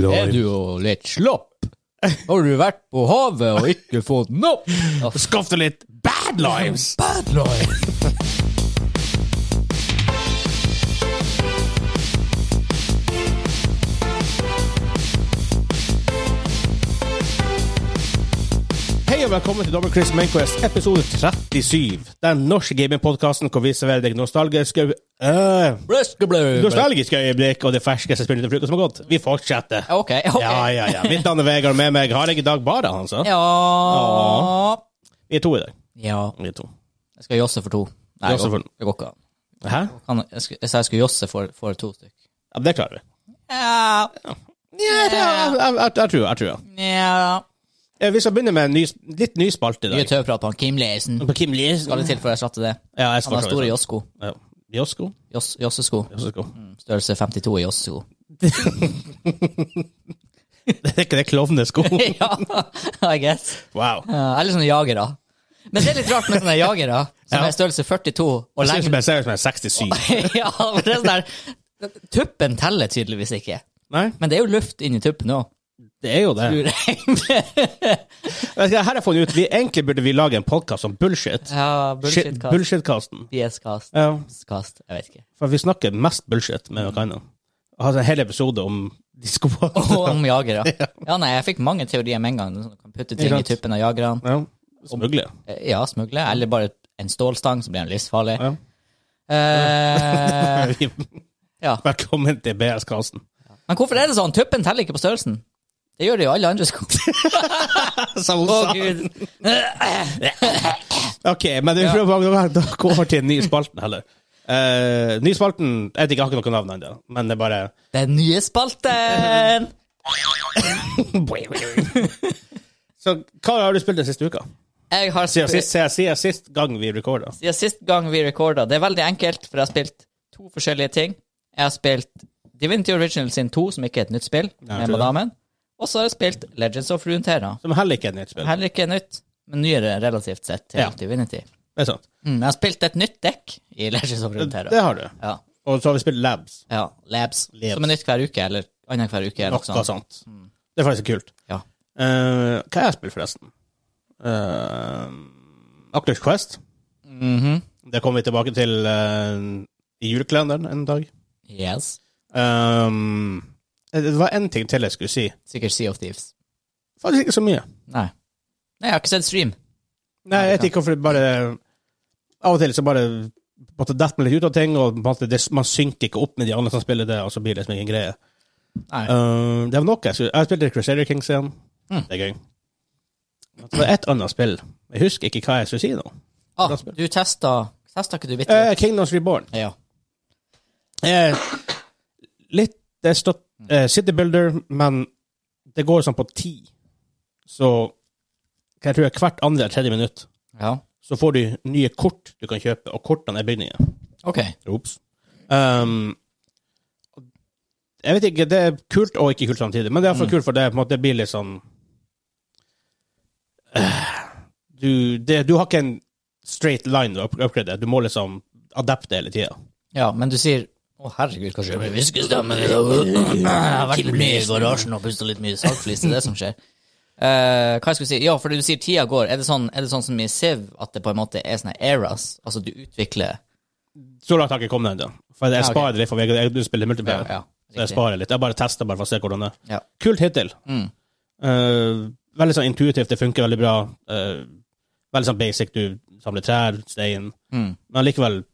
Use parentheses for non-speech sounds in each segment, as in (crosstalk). grader. Er du jo litt slapp? Har du vært på havet og ikke fått nok? Skaff deg litt bad lives! Bad life! Hei og velkommen til Double Chris Mainquest, episode 37. Den norske gamingpodkasten hvor vi serverer deg nostalgiske øh, Nostalgiske øyeblikk og det ferskeste spillet til uka som har gått. Vi fortsetter. Ok, ok. Ja, ja, ja. Mitt navn er Vegard, med meg har jeg i dag bare han, så. Ja. Vi er to i dag. Ja. Vi er to. Jeg skal josse for to. Nei, Josse for- det går- det går ikke an. Hæ? Kan- Jeg skal- jeg sa jeg skulle josse for, for to stykk. Ja, men det klarer vi. Ja. Ja, jeg, jeg, jeg, jeg, jeg tror jeg tror jeg. Ja. Eh, Vi skal begynne med en ny, litt ny spalte i Mye dag. tøvprat på han Kim Leisen. På Kim Lee. Skal det til for å erstatte det? Ja, jeg Han skal har store jossesko. Ja. Josko? Joss- Jossesko. Josko. Størrelse 52 i jossesko. (laughs) Det er ikke det (laughs) klovnesko. ja, I guess. Wow. Ja, Eh, eller sånne jagere. Men det er litt rart med sånne jagere som Ja. er størrelse 42 og Ser ut som lengre. jeg- ser ut som jeg er 67. (laughs) ja, for det er sånn der Tuppen teller tydeligvis ikke. Nei, Men det er jo luft inni tuppen òg. det er jo det. Vet du, Her har jeg funnet ut vi Egentlig burde vi lage en podkast om bullshit. (laughs) ja, Shit- bullshit-kast. Bullshitkasten. BS-kast. Ja, Kast. Jeg vet (laughs) ikke. for vi snakker mest bullshit med noe annet. Altså en hel episode om de skoene. Og om jagere. (laughs) Ja, nei, jeg fikk mange teorier med en gang. Sånn, du kan putte ting Ikke i sant? tuppen av jagerne. Ja. Smugle. Ja, smugle. Eller bare en stålstang, så blir den livsfarlig. Ja. (laughs) Eh, (laughs) ja. Velkommen til BS-kasten. Men hvorfor er det sånn? Tuppen teller ikke på størrelsen. Det gjør det jo alle andre sko. Som hun (laughs) Å, sa. gud. Ok, men vi prøver å (laughs) da går vi til den nye spalten heller. Eh, ny spalten Jeg vet ikke, jeg har ikke noe navn ennå, men det er (laughs) bare Den nye spalten! Så hva har du spilt den siste uka? Jeg har Siden spilt sist, siden- siden sist gang vi recorda. Siden sist gang vi recorda. Det er veldig enkelt, for jeg har spilt to forskjellige ting. Jeg har spilt Divinity Original sin 2, som ikke er et nytt spill, jeg med tror det. Madamen. Og så har jeg spilt Legends of Runeterra. Som heller ikke er et nytt spill. Heller ikke nytt, men nyere relativt sett til Ja. Divinity. Det er sant. Mm, jeg har spilt et nytt dekk i Legends of Det, Runeterra. det har du. Ja. Og så har vi spilt Labs. ja. Labs, Labs. altså. som er nytt hver uke, eller annenhver uke. Eller Noe noe sånt. sånt. Det er faktisk kult. Ja. Eh, hva har jeg spilt, forresten? Uh, Actors Quest. Mhm. Det kommer vi tilbake til eh, i julekalenderen en dag. Yes. Ehm, det var én ting til jeg skulle si. Sikkert Sea of Thieves. Faktisk ikke så mye. Nei. Nei, jeg har ikke sett stream. Nei, jeg vet ikke hvorfor det bare Av og til så bare på en måte detter man litt ut av ting, og på en måte det, man synker ikke opp med de andre som spiller det, og så blir det liksom ingen greie. Nei. Ehm, det var noe jeg skulle Jeg spilte Crusader Kings igjen. Mm. Det er gøy. Det var ett annet spill. Jeg husker ikke hva jeg skulle si nå. Ah, du testa Testa ikke du bitte litt? Eh, Kingdoms Reborn. Ja. Eh, litt det står eh, City Builder, men det går sånn på ti. Så jeg tror jeg hvert andre eller tredje minutt ja. så får du nye kort du kan kjøpe, og kortene er bygninger. Ok. Ops. Um, jeg vet ikke, det er kult og ikke kult samtidig, men det er iallfall Mm. kult, for det, er på en måte, det blir litt sånn Eh, du, det, du har ikke en straight line å up- upgrade, du må liksom adapte hele tida. Ja, men du sier Å, herregud, kanskje jeg blir hviskestemmen i dag. Jeg har vært litt mye i garasjen og pusta litt mye saltflis. Det er det som skjer. Eh, hva jeg skulle si? Ja, for du sier tida går. Er det sånn, er det sånn som i Siv, at det på en måte er sånne eras? Altså, du utvikler Så langt har jeg ikke kommet ennå. For jeg Ja, ok. sparer litt, for jeg, jeg spiller multiplayer. Ja, så jeg riktig. sparer litt. Jeg bare tester bare for å se hvordan det er. Ja. Kult hittil. Mm. Eh, veldig sånn intuitivt, det funker veldig bra. Eh, veldig sånn basic, du samler trær, stein. Mm. Men likevel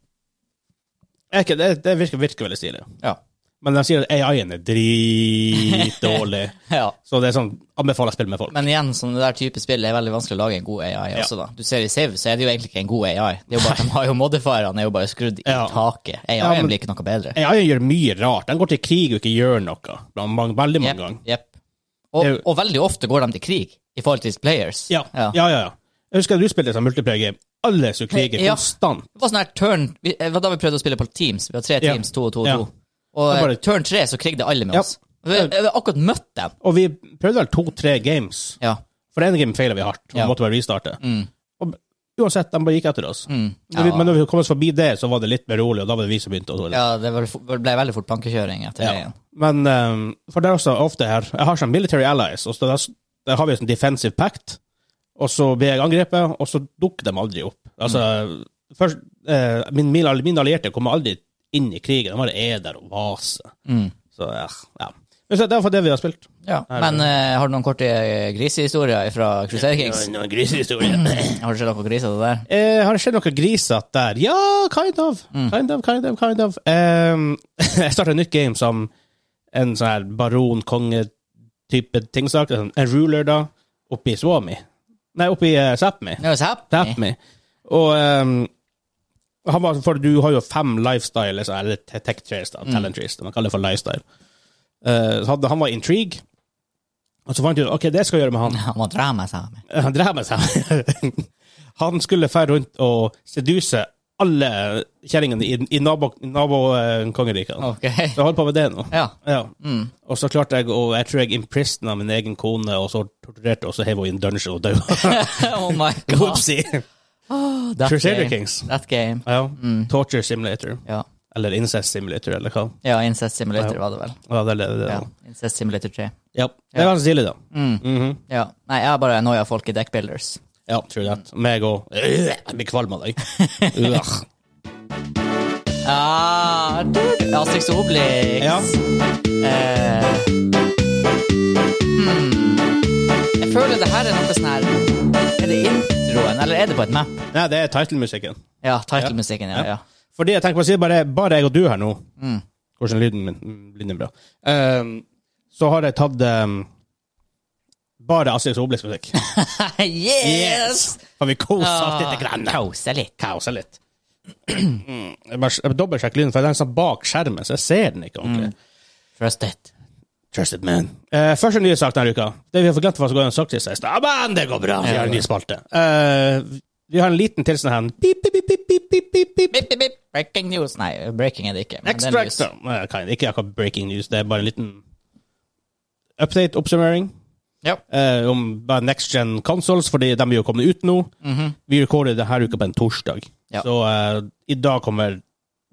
er ikke, det, det virker, virker veldig stilig. Ja. Men de sier at AI-en er (laughs) dritdårlig, ja. så det er sånn anbefaler spill med folk. Men igjen, sånne der type spill det er veldig vanskelig å lage en god AI Ja. også, da. Du ser i Siv, så er det jo egentlig ikke en god AI. Det er jo bare, de har jo modifierne, er jo bare skrudd i Ja. taket. AI-en men- blir ikke noe bedre. AI-en gjør mye rart. Den går til krig og ikke gjør noe. Blant mange, veldig mange Jep, ganger. jep. Og, Det er jo- og veldig ofte går de til krig, i forhold til players. Ja. Ja. ja, ja, Jeg husker at du spilte sånn multiplayer-game. Alle skulle krige Ja. konstant. Det var sånn her turn vi, eh, Da vi prøvde å spille på teams. Vi var tre Ja. teams, to og to og Ja. to. Og Det eh, var bare- turn tre så krigde alle med Ja. oss. Vi, eh, vi har akkurat møtt dem. Og vi prøvde vel to-tre games. Ja. For den game feilet vi hardt. Og Ja. Mm. måtte bare restarte. Og Uansett, de bare gikk etter oss. Ja. Men når vi kom oss forbi det, så var det litt mer rolig, og da var det vi som begynte å tåle. Ja, det var, ble veldig fort plankekjøring etter det igjen. Men ehm, For det er også ofte her Jeg har sånn military allies, og så der, der har vi en sånn defensive pact, og så blir jeg angrepet, og så dukker de aldri opp. Altså, Mm. først, eh, min, min, min allierte kommer aldri inn i krigen, de bare er der og vaser. Mm. Så ja. ja. Men så, det er for det vi har spilt. Ja. Men eh, har du noen korte eh, grisehistorier fra Crusader Kings? Noen- noen grisehistorier. Har du sett noen griser til det der? Eh, har det skjedd noe grisete der? Ja, kind of. Kind of, kind of, kind of. Ehm, (laughs) jeg starta et nytt game som en sånn her baron-konge-type tingsak. En en ruler, da. Oppi Suomi. Nei, oppi uh, Sápmi. Det var Zapp. Sápmi. Og ehm, han var, for du har jo fem lifestyle, så- eller te- tech trees, da, talent trees, da, man kaller det for lifestyle. Eh, så hadde, han var intrigue, og så fant du ut ok, det skal jeg gjøre med han. Han må dra meg sammen. Han drev med seg. (laughs) Han skulle fære rundt og seduse alle kjerringene i, i nabokongeriket. Ok. Så jeg holdt på med det nå. (laughs) Ja. (laughs) Ja. Og så klarte jeg, og jeg tror jeg imprisona min egen kone, og så torturerte og så hev hun i en dungeon og døde. (laughs) Oh my god. Oopsie! That Crusader game. Kings. That game. Ja. Torture simulator. Ja. Eller incest simulator, eller hva. ja, Incest Simulator var det vel. Ja, det er det. det. Ja. Ja. Incest Simulator 3. Ja. Det er ganske stilig, da. Mhm. Ja. Nei, jeg har bare noia folk i deckbuilders. Ja, tror jeg det. Meg òg. Jeg blir kvalm av deg. Ugh. Ah, du- Asterix og Obelix. Ja. Eh, hmm. Jeg føler det her er noe sånn her Er det introen, eller er det på et map? Nei, det er titlemusikken. Ja, titlemusikken, ja. Ja. ja. Fordi jeg tenker på å si bare, bare jeg og du her nå Mm. Hvordan lyden min mm, lyden er bra Ehm, Så har jeg tatt ehm, Bare Asterix og Obelix musikk (laughs) yes! Har vi koset litt Ah, grann Kose litt. Kaoset litt Mm, Jeg bare jeg dobbeltsjekker lyden For den er sånn bak skjermen Så jeg ser den ikke Mm. ordentlig Trust it. Trusted man Eh, Første nye sak denne uka Det vi har forglemt for oss å gå gjennom sak til seg Ja, men det går bra Vi har en ny spalte Eh, Vi har en liten til sånn her Pip, pip, pip, pip, pip, pip, pip Bip, bip, bip. Breaking news. Nei, breaking er det ikke. men det er Extract news. Nei, jeg kan Ikke akkurat breaking news, det er bare en liten update, oppsummering, Ja. eh, om bare next gen consoles, fordi de er jo kommet ut nå. Vi recorder det her uka på en torsdag, Mhm. Ja. så eh, i dag kommer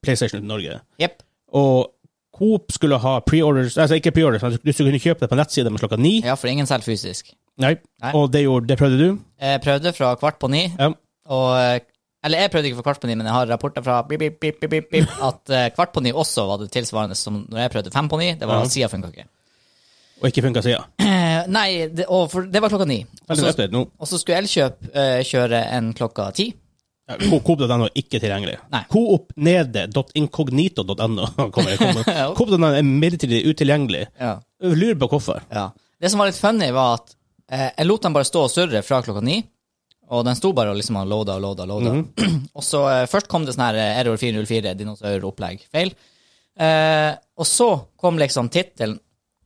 PlayStation ut i Norge. Jepp. Og Coop skulle ha pre-orders, altså ikke pre-orders, men du skulle kunne kjøpe det på nettsiden med klokka ni. Ja, for ingen selger fysisk. Nei. Nei. Og det, gjorde, det prøvde du. Jeg prøvde fra kvart på ni, Ja. og eh, Eller jeg prøvde ikke fra kvart på ni, men jeg har rapporter fra bip, bip, bip, bip, bip, (laughs) bip, at eh, kvart på ni også var det tilsvarende som når jeg prøvde fem på ni. Det var Ja. sida funka ikke. (clears throat) Og ikke funka sida. Eh, Nei, det, og for, det var klokka ni. Og Veldig så- update nå. og så skulle Elkjøp eh, kjøre en klokka ti. Ja, Coop- Coop.no er ikke tilgjengelig. Nei. Coopnede.incognito.no (laughs) kommer (laughs) jeg komme. Coop.no er midlertidig utilgjengelig. Ja. Jeg Lurer på (laughs) hvorfor. Ja. Det som var litt funny, var at eh, jeg lot den bare stå og surre fra klokka ni. Og den sto bare og liksom og loada og loada. og loada. (clears throat) og så eh, først kom det sånn her eh, error 404, dinosauropplegg, feil. Eh, og så kom liksom tittelen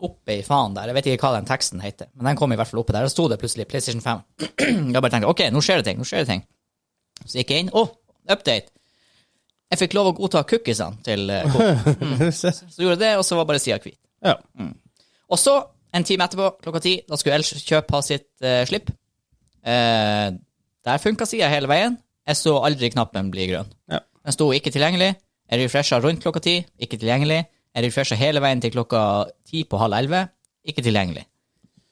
oppe i faen der. Jeg vet ikke hva den teksten heter, men den kom i hvert fall oppe der. Og så sto det plutselig PlayStation (clears throat) 5. jeg bare tenkte OK, nå skjer det ting. nå skjer det ting. Så gikk jeg inn. Å, update! Jeg fikk lov å godta cookiesene til eh, Coop. (laughs) Så gjorde jeg det, og så var bare sida hvit. ja. Og så, en time etterpå, klokka ti, da skulle Elkjøp ha sitt eh, slipp. Eh, der funka sida hele veien. Jeg så aldri knappen bli grønn. Ja. Den sto ikke tilgjengelig. Jeg refresha rundt klokka ti, ikke tilgjengelig. Jeg refresha hele veien til klokka ti på halv elleve, ikke tilgjengelig.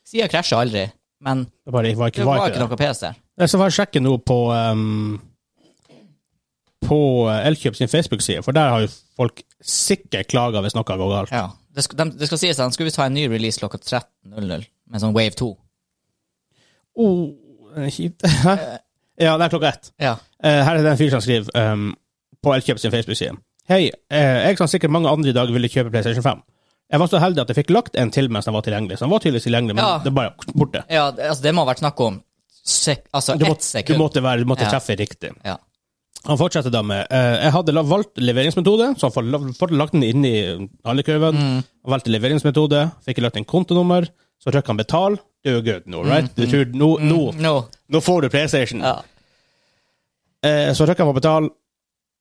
Sida krasja aldri, men Det bare var ikke det var var ikke til det. noe PC der. Jeg skal bare sjekke nå på um, på eh, Elkjøp sin Facebook-side, for der har jo folk sikkert klaga hvis noe går galt. Ja. Det, sk- dem- det skal sies at de skulle visst ha en ny release klokka 13.00, med sånn Wave 2. Oh, det er kjipt. (laughs) Eh. Hæ? ja, det er klokka ett. Ja. Eh, her er det en fyr som skriver ehm, på Elkjøp sin Facebook-side. Hei, eh, jeg som sikkert mange andre i dag ville kjøpe PlayStation 5. Jeg var så heldig at jeg fikk lagt en til mens den var tilgjengelig. Så den var tydeligvis tilgjengelig, men Ja. det bare borte. ja, det- altså, det må ha vært snakk om sek altså Du, ett måtte, du sekund. måtte, være, du måtte Ja. treffe riktig. Ja. Han fortsetter da med eh, Jeg hadde la- valgt leveringsmetode, så han får la- får lagt den inn i handlekurven. Mm. Han valgte leveringsmetode, fikk lagt inn kontonummer, så trykket han betal. Du er good nå, Mm, right? Du tror, nå, nå, Nå. nå får du PlayStation. Ja. Eh, så trykker han på betal,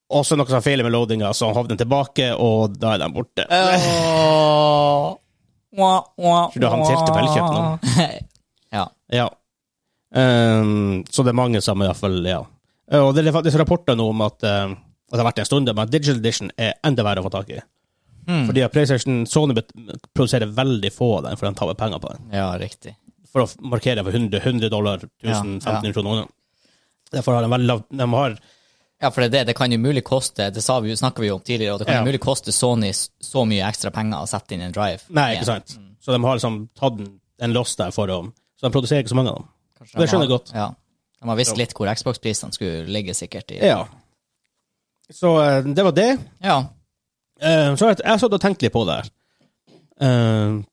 og så er det noe som feiler med loadinga, så han havner den tilbake, og da er den borte. Eh. Åh. Wah, wah, Tror du han tilte på Elkjøp nå? wah. (laughs) ja. Ja. Ehm, så det er mange som i hvert fall, ja. Eh, Og det er faktisk rapporter nå om at, eh, at det har vært en stund, men at Digital Edition er enda verre å få tak i. Hmm. Fordi at PlayStation Sony bet- produserer veldig få av den, for de taper penger på den. Ja, riktig. For å f- markere for 100, 100 dollar, 1000, Ja, ja. 1500 kroner. Derfor har de veldig lav De har Ja, for det er det. Det kan jo mulig koste Det sa vi, snakka vi jo om tidligere, og det kan Ja. jo mulig koste Sony s- så mye ekstra penger å sette inn en drive. Nei, igjen. ikke sant. Så de har liksom tatt en, en loss der for å Så de produserer ikke så mange av dem. Kanskje Det de skjønner jeg har- godt. Ja. De har visst litt hvor Xbox-prisene skulle ligge, sikkert. I. Ja. Så eh, det var det. Ja. Eh, så har jeg jeg har satt og tenkt litt på det her. Eh,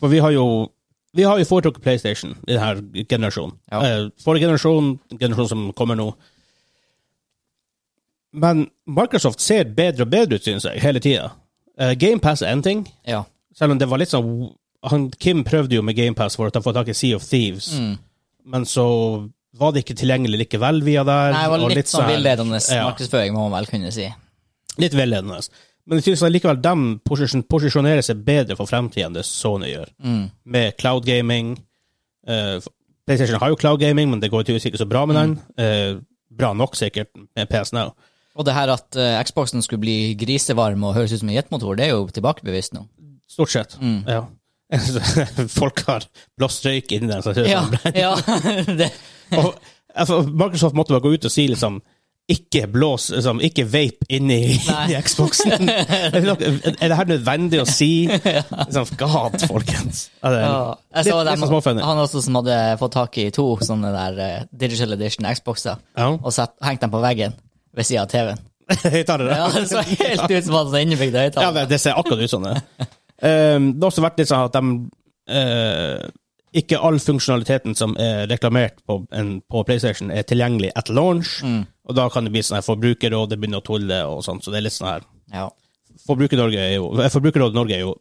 for vi har jo Vi har jo foretrukket PlayStation i denne generasjonen. Ja. Eh, forrige generasjon, generasjonen som kommer nå. Men Microsoft ser bedre og bedre ut, synes jeg, hele tida. GamePass er én ting, ja. selv om det var litt sånn han, Kim prøvde jo med GamePass for at han får tak i Sea of Thieves, Mm. men så var det ikke tilgjengelig likevel via der. Nei, det var og litt, sånn her- villedende Ja. markedsføring, må man vel kunne si. Litt velledende. Men jeg synes likevel de posisjon, posisjonerer seg bedre for fremtiden enn det Sony gjør. Med cloud gaming. eh, PlayStation har jo cloud gaming, men det går tydeligvis ikke så bra med den. Eh, bra nok, sikkert, med PS Now. Og det her at eh, Xboxen skulle bli grisevarm og høres ut som en jetmotor, det er jo tilbakebevist nå. Stort sett. Ja. (laughs) Folk har blåst røyk inni den. Så det Ja, er sånn. ja. (laughs) Det, og, altså, Microsoft måtte bare gå ut og si liksom ikke blås, liksom, ikke vape inni Nei. inni (laughs) Xboxen. er det her nødvendig å si? Liksom, God, folkens. Ja, det er ja. Jeg så litt, litt dem, sånn småfunny. han også som hadde fått tak i to sånne der eh, digital edition Xboxer, Ja. (laughs) og satt, hengt dem på veggen ved sida av TV-en. Høyttalere. (laughs) Ja, det så helt ut som han hadde innebygd Ja, høyttaler. det, det ser akkurat ut sånn. Det. Um, det har også vært litt sånn at de eh, Ikke all funksjonaliteten som er reklamert på, en, på PlayStation, er tilgjengelig at launch, Mm. og da kan det bli sånn her forbrukerråd, det begynner å tulle og sånn, så det er litt sånn her Ja. Forbruker-Norge er jo, eh, Forbrukerrådet Norge er jo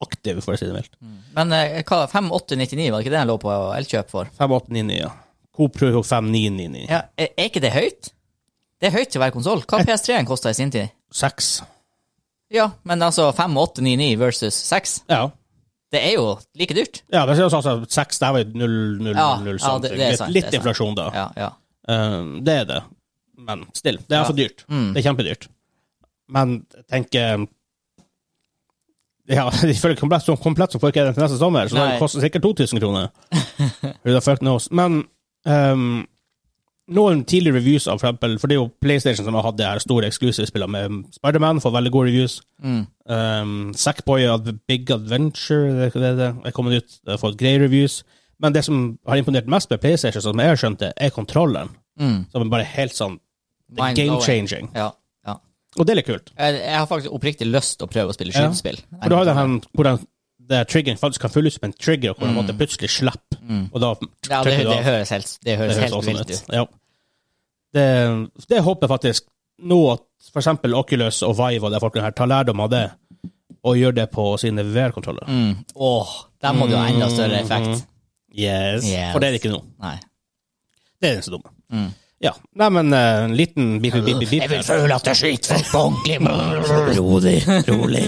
aktiv, for å si det mildt. Men eh, hva, 5899, var det ikke det han lå på Elkjøp for? 5899, ja. Coop Pro 5999. Ja, er er ikke det høyt? Det er høyt til hver konsoll. Hva PS3-en kosta i sin tid? Seks. Ja, men altså 5899 versus 6, Ja. det er jo like dyrt. ja det er sånn, altså, seks, det her var jo null, null, Ja, null, ja, sånn. det- det er litt- sant, det litt er sant. inflasjon, da. Ja, ja. Um, det er det. Men still, det er altså dyrt. Det er kjempedyrt. Men jeg tenker Ja, (laughs) ifølge komplett, som komplett så får ikke jeg den til neste sommer, så Nei. det koster sikkert 2000 kroner. Who the fuck knows? Men um, noen tidlige reviews, av for eksempel, for det er jo PlayStation som har hatt det her store eksklusivspillene med Spiderman, får veldig gode reviews. Um, Sackboy og Big Adventure, det, det, det, er kommet ut, det har fått greie reviews. Men det som har imponert mest med PlayStation, som jeg har skjønt det, er kontrollen. Mm. Som er bare helt sånn det er Mind-blowing. game changing. ja, ja. Og det er litt kult. Jeg, jeg har faktisk oppriktig lyst til å prøve å spille Ja. skytespill. For du har jo den hvordan det triggeren faktisk kan fylles opp med en trigger, hvor man måtte plutselig slipper. Og da Mm. Ja, det, trykker du det av. høres helt, det høres Det høres helt også vilt ut. litt- Ja. Det, det håper jeg faktisk nå at for eksempel Oculus og Vive og de folkene her tar lærdom av det, og gjør det på sine VR-kontroller. Mm. Åh, der må det jo enda større effekt. Yes. Yes. For det er det ikke nå. Nei. Det er det eneste dumme. Ja. Nei, men eh, en liten bip, bip, bip, bip. bip. føle at Mm. jeg skyter folk på ordentlig. Rolig, rolig.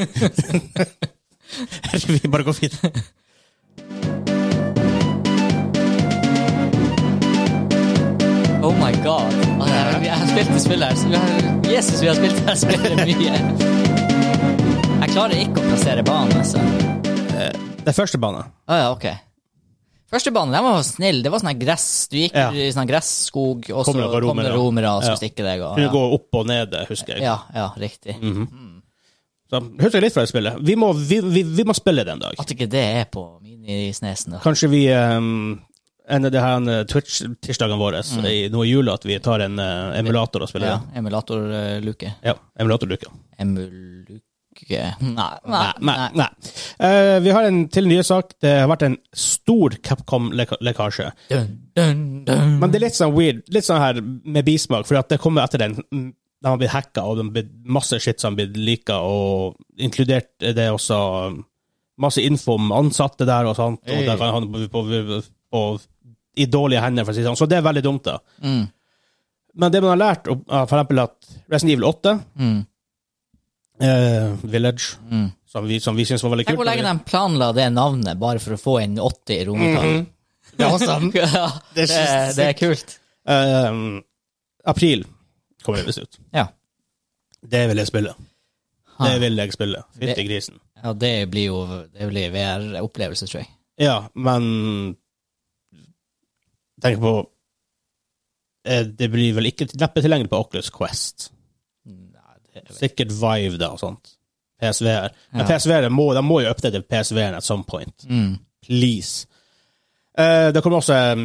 (laughs) Vi bare går videre. Oh my god. Altså, jeg, jeg har spilt det spillet her. så vi har- Jesus, vi har spilt det her spillet mye. Jeg klarer ikke å plassere banen, altså. Det er første bane. Å ja, ok. Første banen, den var snill. Det var sånn her gress. Du gikk Ja. i sånn her gresskog, og så Kommer det bare kom det romere. romere og Ja. skulle stikke deg. Og, Du ja. går opp og ned, husker jeg. ja, ja, riktig. Så, husker jeg litt fra det spillet. Vi må, vi, vi, vi må spille det en dag. At ikke det er på minisnesen, da. Kanskje vi um, en av de her eh, Twitch-tirsdagene våre i, nå i jula, at vi tar en eh, emulator og Mm. Ja, spiller. Emulatorluke. Ja, ja emulatorluke. Emuluke Nei, nei, Nei. Ah, nei. nei. Eh, vi har en til nyhetssak. Det har vært en stor Capcom-lekkasje. Dun, dun, dun. Men det er litt sånn weird, litt sånn her med bismak, for at det kommer etter den. mm, De har blitt hacka, og det har blitt masse shit som har blitt lika, og inkludert er det også um, masse info om ansatte der og sånt, og Hey. det kan havne på, på, på, i dårlige hender, for å si det sånn. Så det er veldig dumt, da. Mm. Men det man har lært, om, uh, for eksempel at Resident Evil 8, Mm. eh, Village, Mm. som vi, som vi syns var veldig Tenk hvor kult lenge de planla det navnet bare for å få en 80 Mm-hmm. i romertall. (laughs) Mhm. Det er awesome. ja, Mm. det, Det er det er kult. Um, April kommer det visst ut. Ja. Det vil jeg spille. Ha. Det vil jeg spille. Fytti grisen. ja, det blir jo Det blir VR-opplevelse, tror jeg. Ja, men Tenk på eh, Det blir vel ikke neppe tilgjengelig på Oculus Quest. Nei, det vet jeg. Sikkert Vive da og sånt. PSVR. Men Ja. PSVR må, de må jo oppdatere PSVR-en at some point. Mm. Please. Eh, det kommer også eh,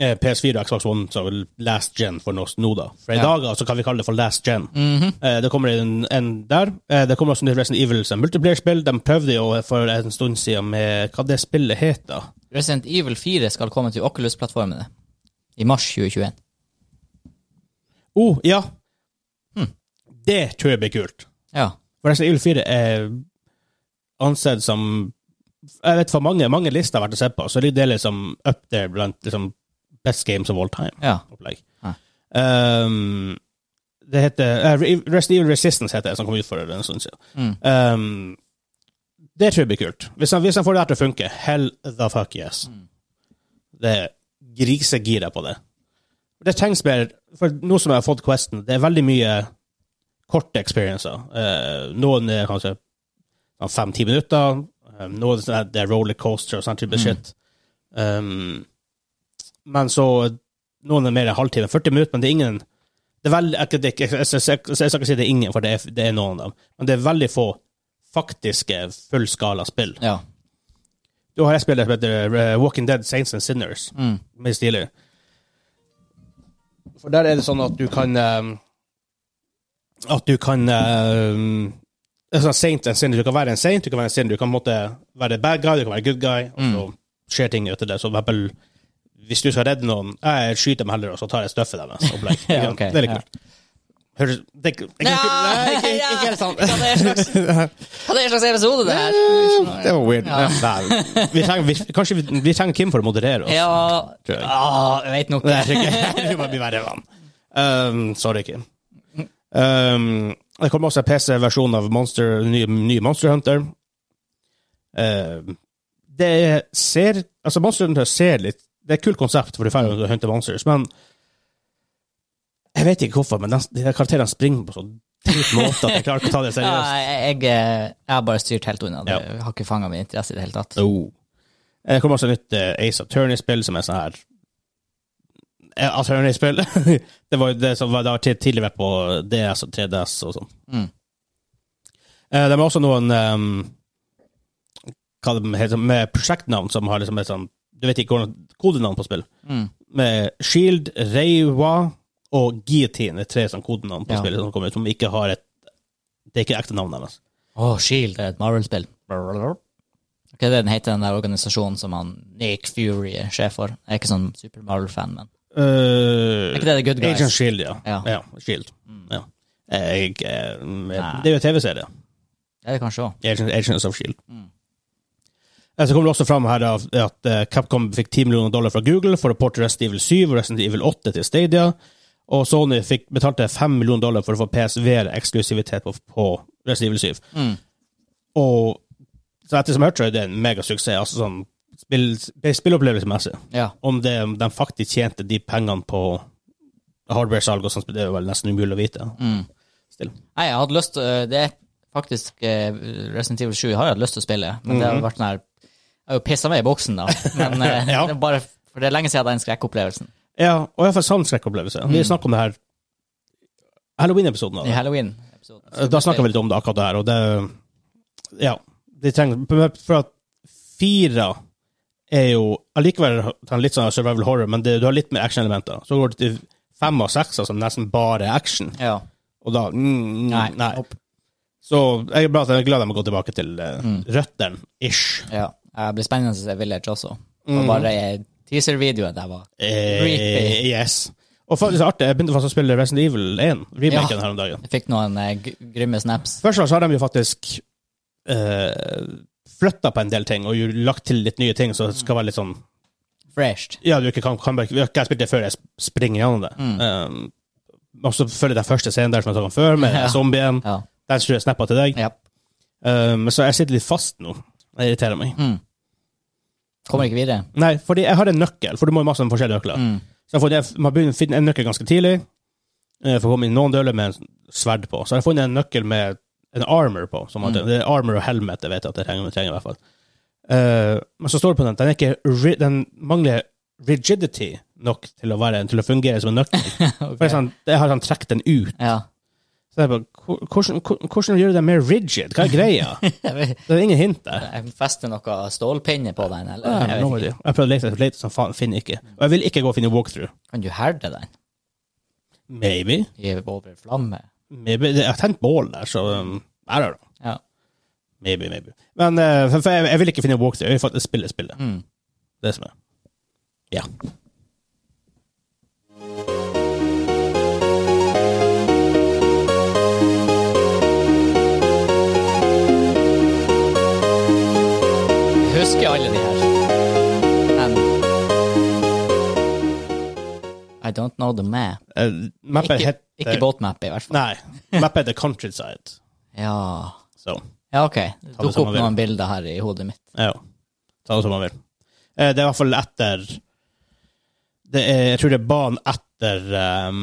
eh, PS4 og Xbox One, så last gen for oss nå, da. For i Ja. dag altså, kan vi kalle det for last gen. Mhm. Eh, Det kommer en, en der. Eh, Det kommer også nytt Resident Evil som multiplayer-spill. De prøvde jo for en stund siden med hva det spillet heter. Resident Evil 4 skal komme til Oculus-plattformene i mars 2021. Oh, ja. Hm. Det tror jeg blir kult. Ja. For Resident Evil 4 er ansett som Jeg vet for mange, mange lister har vært å se på, så det er liksom up there blant liksom, best games of all time. ja. opplegg. Ja. Ehm, det heter uh, Resident Evil Resistance heter det, som kom ut for en stund siden. Mm. Ehm, det tror jeg blir kult. Hvis han, hvis han får det her til å funke, hell the fuck yes. Det er grisegira på det. Det trengs mer, for nå som jeg har fått Questen, det er veldig mye korte experiencer. Eh, noen er kanskje sånn fem-ti minutter, eh, noen sånn her- det er rollercoaster og sånn type shit. Ehm, men så noen er mer en halvtime, 40 minutter, men det er ingen det er veldig, jeg, jeg, jeg, jeg, jeg, jeg skal ikke si det er ingen, for det er, det er noen av dem. Men det er veldig få faktiske fullskala spill. ja. Du har et spill som heter eh, Walking Dead Saints and Sinners. Mm. Mye stilig. For der er det sånn at du kan eh, At du kan eh, det er sånn Saint and Sinner. Du kan være en saint, du kan være en sinner. Du kan måtte være bad guy, du kan være good guy, og så skjer ting etter det. Så for eksempel, hvis du skal redde noen, jeg skyter dem heller, og så tar jeg støffet deres. opplegg. Ja, ok, Det er litt ja. kult. Høres det, er ikke- det, er ikke- Nei, ikke, ikke, ikke helt sånn. Hva er slags, hva er slags episode, det her? Det var weird. Nei, vi trenger, vi, kanskje vi, vi trenger Kim for å moderere oss. Ja Tror jeg. ah, Jeg vet nok. Nei, jeg tror ikke. (laughs) Du må bli verre vann. Um, sorry, Kim. Um, det kommer også en PC-versjon av Monster, ny, ny Monster Hunter. Um, det ser Altså, Monster Hunter ser litt Det er et kult konsept, for du får jo hunte monsters, men Jeg vet ikke hvorfor, men de, de der karakterene springer på sånn drit måte at jeg klarer ikke å ta det Ja, seriøst. jeg, jeg, eh, jeg har bare styrt helt unna. Det Ja. har ikke fanga min interesse i det hele tatt. Oh. Det kommer også nytt eh, Ace Attorney-spill, som er sånn her Eh, Attorney-spill. (laughs) det var jo det som var, det har ti- tidligere vært på DS og 3DS og sånn. Mm. Eh, det er også noen ehm, Hva det heter Med prosjektnavn som har liksom et sånn Du vet ikke hvordan kodenavn på spill. Mm. Med Shield, Reiwa og Guillotine er tre sånn kodenavn på Ja. spillet som kommer ut, som ikke har et Det er ikke ekte navn deres. Åh, E Shield er et Marvel-spill. Hva er det den heter, den der organisasjonen som han Nick Fury er sjef for? Jeg er ikke sånn super Marvel-fan, men Uh, Er ikke det The Good Guys? Agent Shield, liksom ja. Ja. ja. Mm. Shield. Ja. Jeg, eh, det er jo TV-serie. det er det kanskje òg. Agent, Agents of Shield. Eh, Så kommer det også fram her da, at eh, Capcom fikk 10 millioner dollar fra Google for å porte Resident Evil 7 og Resident Evil 8 til Stadia. Og Sony fikk, betalte 5 millioner dollar for å få PSV-eksklusivitet på, på Resident Evil 7. Mm. Og så etter som jeg hørte, så er det en megasuksess. Altså sånn spill, spillopplevelsesmessig Ja. om det, om de faktisk tjente de pengene på hardware-salg og sånt, det er vel nesten umulig å vite. Mm. Still. Nei, jeg hadde lyst til Det er faktisk eh, Resident Evil 7 har jeg hatt lyst til å spille, men Mhm. det har vært sånn her Jeg har jo pissa meg i boksen, da. Men eh, (laughs) Ja. det er bare For det er lenge siden jeg hadde den skrekkopplevelsen. Ja, og iallfall sann skrekkopplevelse. sånn Vi snakket om det her Halloween-episoden. av I det. Halloween-episoden. Da snakka vi litt om det akkurat der, og det Ja. De trenger For at fire er jo allikevel litt sånn survival horror, men det, du har litt mer action-elementer. Så går det til fem og seks, som nesten bare er action. Ja. Og da mm, Nei. Nei. Opp. Så jeg er bra at jeg er glad de har gått tilbake til uh, røttene-ish. ja. Det blir spennende å se Village også. Og bare eh, teaser-videoen der var Creepy. Eh, yes. Og faktisk artig, jeg begynte faktisk å spille Resident Evil 1, remaken Ja. her om dagen. Jeg fikk noen eh, g- grymme snaps. Først og fremst har de jo faktisk eh, flytta på en del ting, og jo lagt til litt nye ting, så det skal være litt sånn Fresh. Ja, du ikke kan, kan bare, vi har ikke spilt det før, jeg sp- springer gjennom det. Mm. Um, og så følger den første scenen der som jeg snakket om før, med (laughs) Ja. zombien. Ja. Den tror jeg snappa til deg. ja. Um, så jeg sitter litt fast nå. Det irriterer meg. Mm. Kommer ikke videre. Mm. Nei, fordi jeg har en nøkkel, for du må jo masse forskjellige nøkler. Så jeg har fått- jeg- man begynner å finne en nøkkel ganske tidlig, eh, for å komme inn noen døler med en sverd på. Så har jeg funnet en nøkkel med en armor på. Som at, Det er armor og helmet jeg vet at jeg trenger, trenger i hvert fall. Eh, men så står det på den den, er ikke, ri- den mangler rigidity nok til å, være, til å fungere som en nøkkel. Ok. For jeg, sånn, jeg har sånn trukket den ut. Ja. Så jeg bare, "Hvor- hvordan, hvor- hvordan gjør du den mer rigid? Hva er greia? Det er ingen hint der. Jeg fester noe stålpinne på den, eller? Jeg, Jeg vet ikke. jeg prøvde å lete etter lete som faen, finner ikke. Og jeg vil ikke gå og finne walkthrough. Kan du herde den? Maybe. Gi over flamme? Maybe. Jeg har tent bål der, så um, I don't know. Ja. Maybe, maybe. Men eh, for, for jeg, jeg vil ikke finne walkthrough. Jeg vil faktisk spille spillet. Mm. Det er som er. Ja. Jeg husker alle de her. Men I don't know the map. Uh, mappet Ikke, heter ikke båtmap, i hvert fall. Nei. Mappet heter Countryside. Ja. Så ja, OK. Det som dukker opp man vil. noen bilder her i hodet mitt. ja. Ta det som man vil. Eh, det er i hvert fall etter det er, Jeg tror det er banen etter um,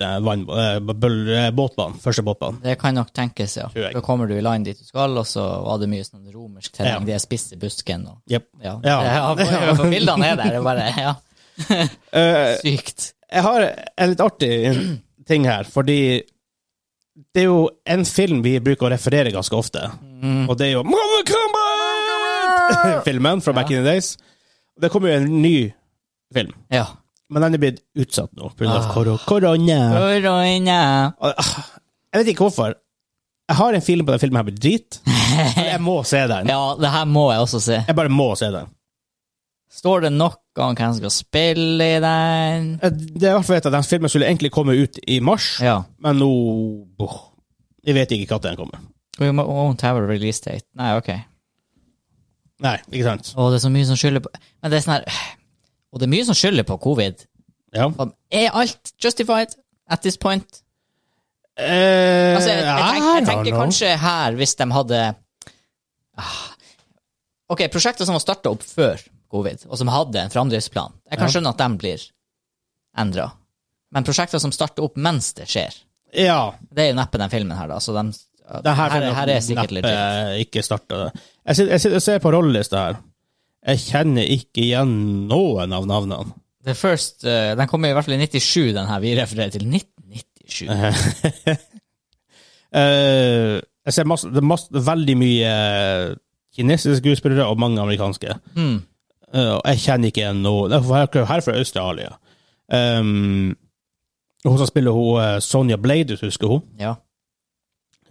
det er vann, eh, bøl- eh, båtbanen. Første båtbanen. Det kan nok tenkes, ja. Tror jeg. Da kommer du i land dit du skal, og så var det mye sånn romersk terreng. Ja. Det er spisse busken og Jep. Ja. (laughs) ja. Ja. for, for bildene er der. Det er bare Ja, Eh, sykt. jeg har en litt artig ting her, fordi det er jo en film vi bruker å referere ganske ofte, Mm. og det er jo Mama Combat! (laughs) Filmen fra Back in the Days. Det kommer jo en ny film, Ja. men den er blitt utsatt nå pga. Ah. av korona. Corona. Og, ah, Jeg vet ikke hvorfor. Jeg har en film på den filmen her blir drit. Jeg må se den. (laughs) Ja, det her må jeg også se. Jeg bare må se den. Står det noe om hvem som skal spille i den? Det er i hvert fall et av den filmen skulle egentlig komme ut i mars, Ja. men nå boh, Jeg vet ikke når den kommer. We mo- won't have a release date. Nei, ok. Nei, ikke sant? Å, det er så mye som skylder på Men det er sånn her Og det er mye som skylder på covid. Ja. Om- Er alt justified at this point? Eh, Altså, jeg, jeg, tenker, jeg I don't tenker know. kanskje her, hvis de hadde Ah. Ok, prosjekter som var starta opp før covid, og som hadde en framdriftsplan Jeg kan Ja. skjønne at de blir endra. Men prosjekter som starter opp mens det skjer Ja. Det er jo neppe den filmen her, da. Så de, Det her, her, vil her er sikkert neppe legit. Ikke starta. Jeg sitter, jeg sitter og ser på rollelista her. Jeg kjenner ikke igjen noen av navnene. The First eh, Den kommer i hvert fall i 97, den her vi refererer til. 1997. Eh, jeg ser masse, det er masse, veldig mye eh, kinesiske skuespillere og mange amerikanske. Mm. Eh, og jeg kjenner ikke igjen noen. Nei, for Her, her er fra Australia. Um, hun som spiller hun, eh, Sonja Blade, hvis du husker hun. Ja.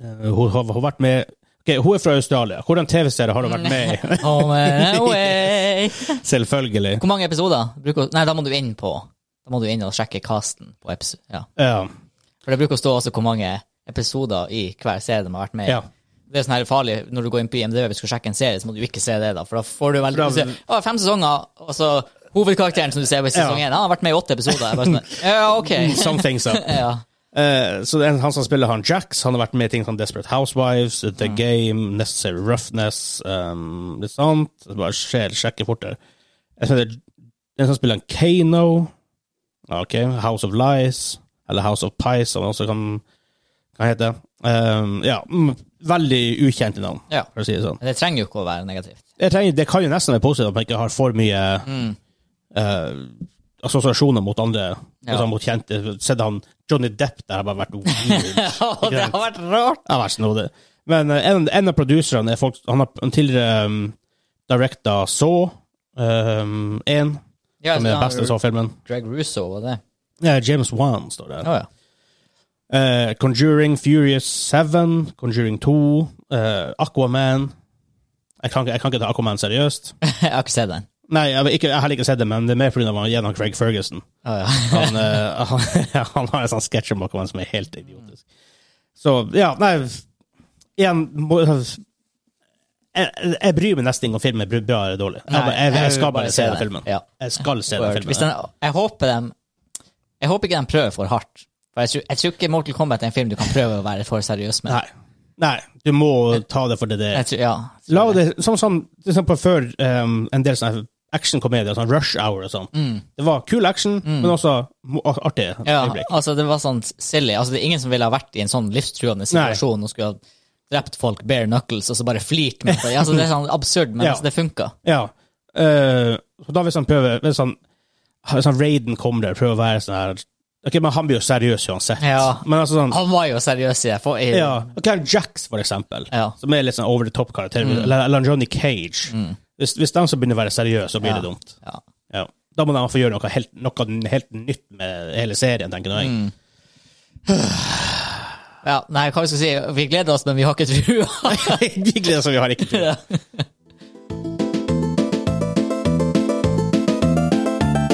Eh, Hun har, hun har vært med Ok, Hun er fra Australia. Hvordan TV-serie har hun (laughs) vært med i? Home and (laughs) away. Selvfølgelig. Hvor mange episoder? Bruker, nei, da må du inn på Da må du inn og sjekke casten på episode. Ja. Ja. For det bruker å stå også hvor mange episoder i hver serie de har vært med i. ja. Det er sånn her farlig når du går inn på IMDb og skal sjekke en serie, så må du ikke se det, da. For da får du veldig For da- du ser, Å, fem sesonger, og så hovedkarakteren som du ser i sesong Ja. Mm. én, han har vært med i åtte episoder. Jeg bare sånn, ja, ok. Some things up. Ja. Eh, så det er han som spiller han Jax, han har vært med i ting som Desperate Housewives, The Game, Necessary Roughness, um, litt sånt. Så Bare skjer, sjekker fort der. Jeg ser det- Den som spiller han Kano, ok, House of Lies, eller House of Pies, som han også kan, kan hete. Um, ja, mm, veldig ukjente navn, Ja. for å si det sånn. Men Det trenger jo ikke å være negativt. jeg trenger, det kan jo nesten være positivt at man ikke har for mye eh, assosiasjoner mot andre. Mm. Ja. Altså mot kjente. Sett han Johnny Depp der har bare (laughs) vært weird. Ja, (laughs) det har vært rart. Jeg har vært snodig. Men eh, en, en av producerne er folk Han har han tidligere um, directa Saw 1, Ja, som er den beste Saw-filmen. Greg Russo var det. Ja, James Wan står det. Å ja. (laughs) Eh, Conjuring Furious 7, Conjuring 2, eh, Aquaman jeg kan, ikke- jeg kan ikke ta Aquaman seriøst. Jeg har ikke sett den. Nei, jeg, har ikke, jeg har heller ikke sett det, men det er mer pga. gjennom Craig Ferguson. Å Ah, ja. Han, eh, han, (laughs) han har en sånn sketsj om han som er helt idiotisk. Så ja, nei Igjen må, jeg, jeg bryr meg nesten ikke om filmen er bra eller dårlig. Jeg, Nei, bare, jeg, jeg skal vil bare se den filmen. Ja. Jeg skal se den Word. Hvis filmen. den, jeg håper dem Jeg håper ikke de prøver for hardt. For jeg tror, jeg tror ikke Mortal Kombat er en film du kan prøve å være for seriøs med. Nei. nei, du må ta det for det det er. Jeg tror, ja. La det, sånn som for eksempel før um, en del sånne actionkomedier, sånn Rush Hour og sånn. Det var kul action, men også mo- artig Mm. Ja, øyeblikk. altså det var sånn silly. Altså det er Ingen som ville ha vært i en sånn livstruende situasjon og skulle ha drept folk bare knuckles og så bare flirt med det. Altså det er sånn absurd, men Ja. altså det funka. Ja. Eh, så da hvis han prøver Hvis han, hvis han Raiden kommer der, prøver å være sånn her Ok, men han blir jo seriøs uansett. Ja. Men altså sånn Han var jo seriøs i det. For, i, Ja. Og Karen Jacks, for eksempel, Ja. Mm. som er litt sånn over the top-karakter. Eller, eller Johnny Cage. Hvis, hvis de som begynner å være seriøse, så Ja. blir det dumt. Ja. Ja. Da må de få gjøre noe helt, noe helt nytt med hele serien, tenker jeg. Mm. Ja, nei, hva vi skal si? Vi gleder oss, men vi har ikke (laughs) trua. (laughs) De gleder seg, vi har ikke tid.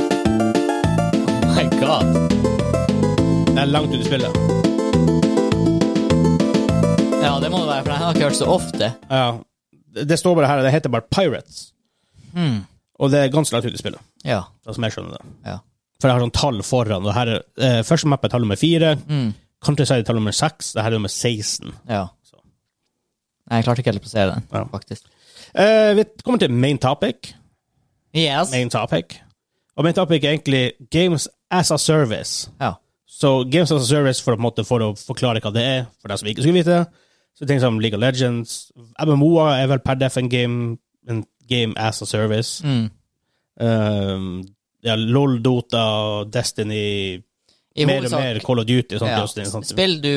Oh my god. Det er langt ut i spillet. Ja, det må det være, for jeg har ikke hørt så ofte. Ja. Det, det står bare her, det heter bare Pirates. Mm. Og det er ganske langt ut i spillet, Ja. sånn som jeg skjønner det. ja. For jeg har sånn tall foran, og her er eh, første mapp er tall nummer fire, Mm. Countryside er tall nummer seks, det her er nummer 16. ja. Så. Nei, jeg klarte ikke helt å plassere den, Ja. faktisk. Eh, vi kommer til main topic. Yes. Main topic. Og main topic er egentlig games as a service. Ja. Så Games as a Service, for, å på en måte, for å forklare hva det er, for dem som ikke skulle vite det. Så ting som League of Legends MMO-er er vel per def en game, en game as a service. Mm. Um, ja, LOL, Dota, Destiny I Mer og hovedsak- mer Call of Duty. Sånt, Ja. just, det, sånt. Spill du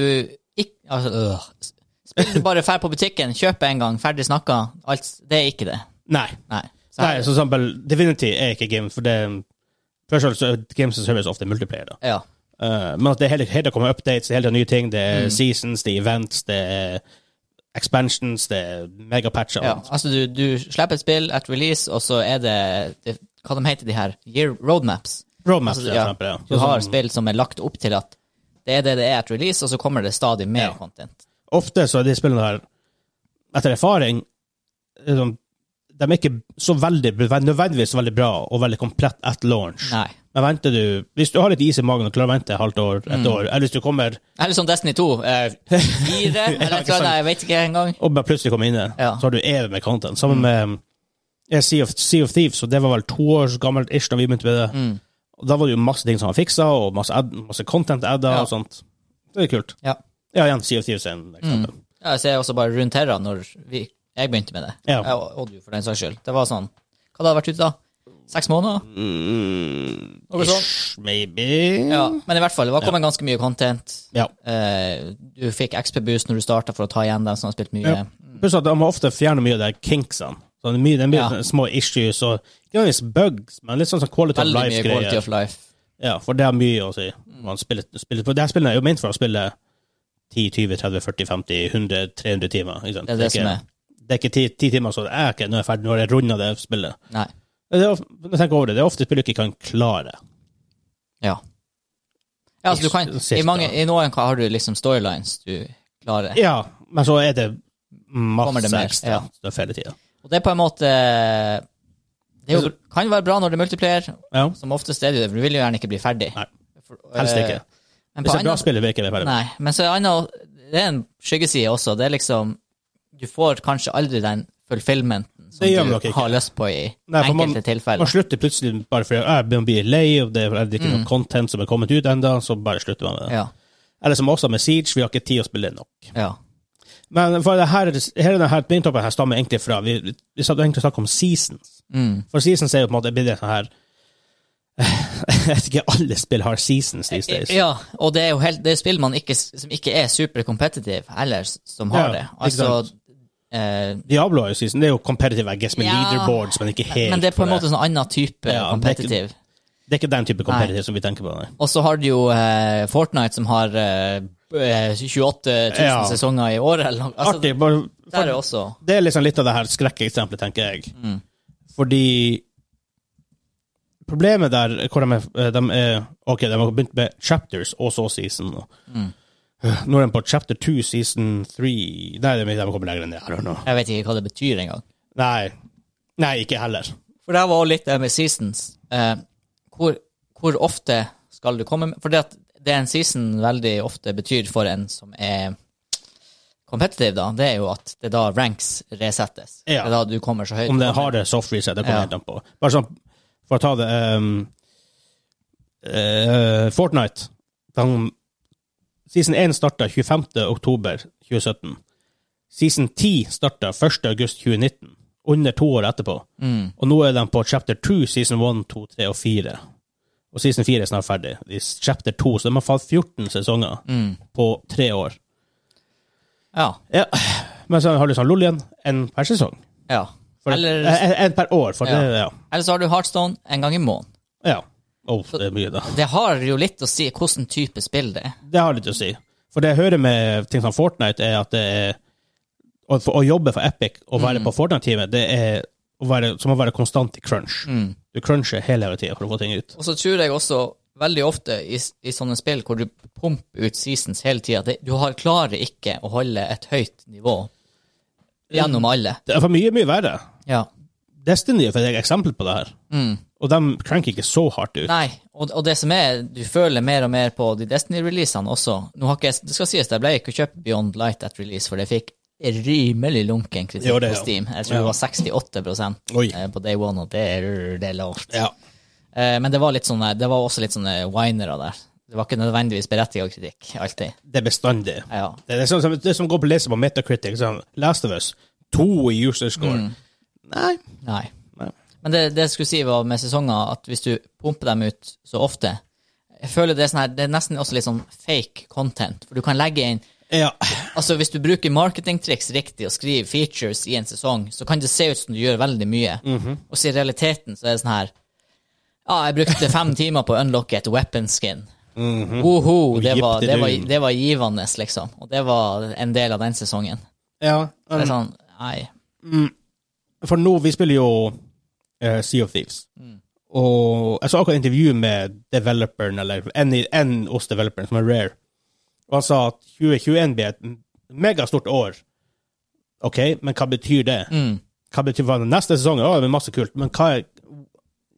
ikke altså, øh. Spill du bare fær på butikken, kjøper en gang, ferdig snakka, alt Det er ikke det. Nei. Nei. Så Nei, her- så eksempel Divinity er ikke game, for det Først og fremst så er Games as a Service ofte multiplayer. da. ja. Uh, men at det hele, hele kommer updates, det hele tiden nye ting. Det Mm. er seasons, det er events, det er expansions, det er megapatcher. ja. Altså, du, du slipper et spill at release, og så er det, det Hva de heter de her? Year roadmaps. Roadmaps, Altså, for ja. eksempel. Ja. Du Så har sånn- spill som er lagt opp til at det er det det er at release, og så kommer det stadig mer Ja. content. ofte så er de spillene her, etter erfaring, liksom, de er ikke så veldig, nødvendigvis veldig bra og veldig komplett at launch. Nei. Men venter du, hvis du har litt is i magen og klarer å vente et halvt år, et Mm. år, eller hvis du kommer Eller som Destiny 2. Eh, (laughs) fire, eller hva ikke sant. det er, jeg vet ikke engang. og bare plutselig kommer inn der, Ja. Mm. så har du evig med content. Sammen med eh, sea, of, sea of Thieves, og det var vel to år gammelt ish da vi begynte med det. Mm. Og da var det jo masse ting som var fiksa, og masse, ad, masse content adda Ja. Mm. og sånt. Det er kult. Ja. Ja, igjen, Sea of Thieves er en eksempel. Ja, jeg ser også bare rundt her da, når vi, jeg begynte med det. Ja. Jeg og- og du, for den saks skyld. Det var sånn Hva hadde vært ute da? Seks måneder? Noe sånt. Ish, maybe. Ja, men i hvert fall, det var kommet ganske mye content. Ja. Eh, du fikk XP-boost når du starta for å ta igjen dem som har spilt mye. Ja. Pluss at de må ofte fjerne mye av de kinksene. Så det er mye, det er mye Ja. sånne små issues og ikke nødvendigvis bugs, men litt sånn sånn quality Veldig of mye quality life-greier. of life. Ja, for det har mye å si. Mm. Man spiller, spiller, for det her spillet er jo ment for å spille 10, 20, 30, 40, 50, 100, 300 timer. Ikke sant? Det er det ikke, som er. Det er ikke 10, 10 timer, så det er ikke når jeg er ferdig, når jeg runder det spillet. Nei. Men Det er, of- når jeg tenker over det, det er ofte spill du ikke kan klare. Ja. ja altså, du kan, i, Cirka. mange, I noen har du liksom storylines du klarer. Ja, men så er det Kommer masse det mer, ekstra ja. det er hele tida. Og det er på en måte Det er jo, kan jo være bra når det er multiplayer, Ja. som oftest er det jo det, for du vil jo gjerne ikke bli ferdig. Nei. For- Helst eh, ikke. Men Hvis på det er bra annen, spill, virker det ferdig. nei, men så er annen, det er en skyggeside også. Det er liksom Du får kanskje aldri den fulfillmenten som Det gjør man du nok ikke. har lyst på i Nei, for man- enkelte Man tilfeller. slutter plutselig bare fordi jeg begynner å bli lei, og det er ikke noe content som er kommet ut ennå, så bare slutter man med det. Mm. Ja, Eller som også med Siege, vi har ikke tid å spille nok. ja. Men for det her, hele denne her maintoppen her stammer egentlig fra Vi, vi, vi satt egentlig og snakket om seasons. Mm. For seasons er jo på en måte blitt sånn her eh, (laughs) Jeg vet ikke, alle spill har seasons these days. ja. Og det er jo helt, det er spill man ikke, som ikke er supercompetitive ellers, som har Ja, det. ikke Altså sant. eh, Diablo er jo season. Det er jo competitive, I guess, med Ja. leaderboards, men ikke helt. Men det er på en for måte en sånn annen type Ja, competitive. det er ikke den type competitive som vi tenker på. Nei. Og så har du jo eh, Fortnite som har eh, eh, 28 000 Ja. sesonger i året, eller noe. Altså, Artig. Bare, der er også Det er liksom litt av det her skrekkeksempelet, tenker jeg. Fordi Problemet der hvor de er, eh, de er Ok, de har begynt med chapters og så season. og- Nå er de på chapter two, season three Nei, de, de kommer lenger enn det. I don't know. Jeg vet ikke hva det betyr engang. Nei. Nei, ikke heller. For det her var også litt det med seasons. Eh, hvor, hvor ofte skal du komme med For det at det en season veldig ofte betyr for en som er competitive, da, det er jo at det er da ranks resettes. Ja. Det er da du kommer så høyt. Om det har det soft reset, det kommer Ja. helt an på. Bare sånn, for å ta det ehm, eh, Fortnite de, Season 1 starta 25. oktober 2017. Season 10 starta 1. august 2019. Under to år etterpå. Mm. Og nå er de på chapter 2, season 1, 2, 3 og 4. Og season 4 er snart ferdig. I chapter 2, så de har falt 14 sesonger Mm. på tre år. Ja. Ja. Men så har du sånn LOL igjen, én per sesong. ja. For Eh, Eller- en, en per år, for Ja. det ja. Eller så har du Heartstone en gang i måneden. Ja. Oh, det er mye, da. Det har jo litt å si hvilken type spill det er. Det har litt å si. For det jeg hører med ting som Fortnite, er at det er Å, å jobbe for Epic og være på Fortnite-teamet, det er å være, som å være konstant i crunch. Du cruncher hele tida for å få ting ut. Og så tror jeg også veldig ofte i, s- i sånne spill hvor du pumper ut seasons hele tida, du har, klarer ikke å holde et høyt nivå gjennom alle. Det er for mye, mye verre. Ja. Destiny er for et eksempel på det her. Og de cranker ikke så hardt ut. Nei, og, og det som er, du føler mer og mer på de Destiny-releasene også. Nå har ikke jeg, det skal sies, jeg ble ikke kjøpt Beyond Light at release, for det fikk rimelig lunken kritikk Jo, det, på ja. Steam. Jeg tror Ja. det var 68 Oi. eh, på day one, og det er, det er lavt. Ja. Eh, Men det var, litt sånne, det var også litt sånne winere der. Det var ikke nødvendigvis berettiget kritikk, alltid. Det er bestandig. Ja. Det er sånn som, det som går på lese på Metacritic, sånn Last of Us, to i user score. Nei. Nei. Nei. Men det, det jeg skulle si var med sesonger, at hvis du pumper dem ut så ofte Jeg føler det er, sånn her, det er nesten også litt sånn fake content. For du kan legge inn Ja. Altså Hvis du bruker marketingtriks riktig og skriver features i en sesong, så kan det se ut som du gjør veldig mye. Og så i realiteten så er det sånn her Ja, jeg brukte fem timer på å unlocke et weapon skin. Woho, det, var, det, var, det var givende, liksom. Og det var en del av den sesongen. ja. Så det er sånn, nei. For nå, vi spiller jo eh, Sea of Thieves. Og jeg så akkurat intervju med developeren, eller en, i- en hos developeren, som er rare. Og han sa at 2021 blir et megastort år. OK, men hva betyr det? Hva betyr hva, Neste sesong å, det blir masse kult, men hva er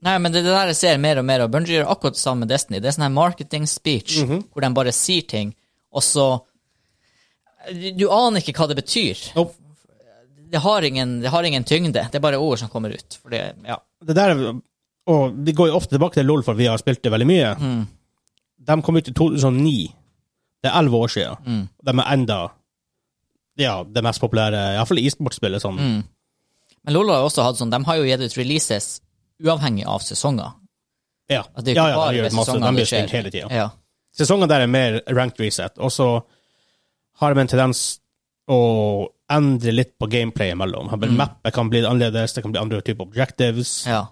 Nei, men det er det der jeg ser mer og mer av. Bungie gjør akkurat det samme med Destiny. Det er sånn her marketing speech, hvor de bare sier ting, og så Du, du aner ikke hva det betyr. Nope. Det har, ingen, det har ingen tyngde. Det er bare ord som kommer ut. For det, ja. det der er- Og vi går jo ofte tilbake til LOL, for vi har spilt det veldig mye. De kom ut i 2009. Det er elleve år siden. De er enda ja, det mest populære, iallfall e-sportspillet. Sånn. Men Lola har også hatt sånn, de har jo gitt ut releases uavhengig av sesonger. Ja, At det er ja, ikke ja bare de gjør ved masse. sesongene De blir det skjer. spilt hele tida. Ja. Sesongen der er mer ranked reset, og så har de en tendens å endre litt på gameplay imellom. Mm. Mappet kan bli annerledes, det kan bli andre typer objectives. Ja.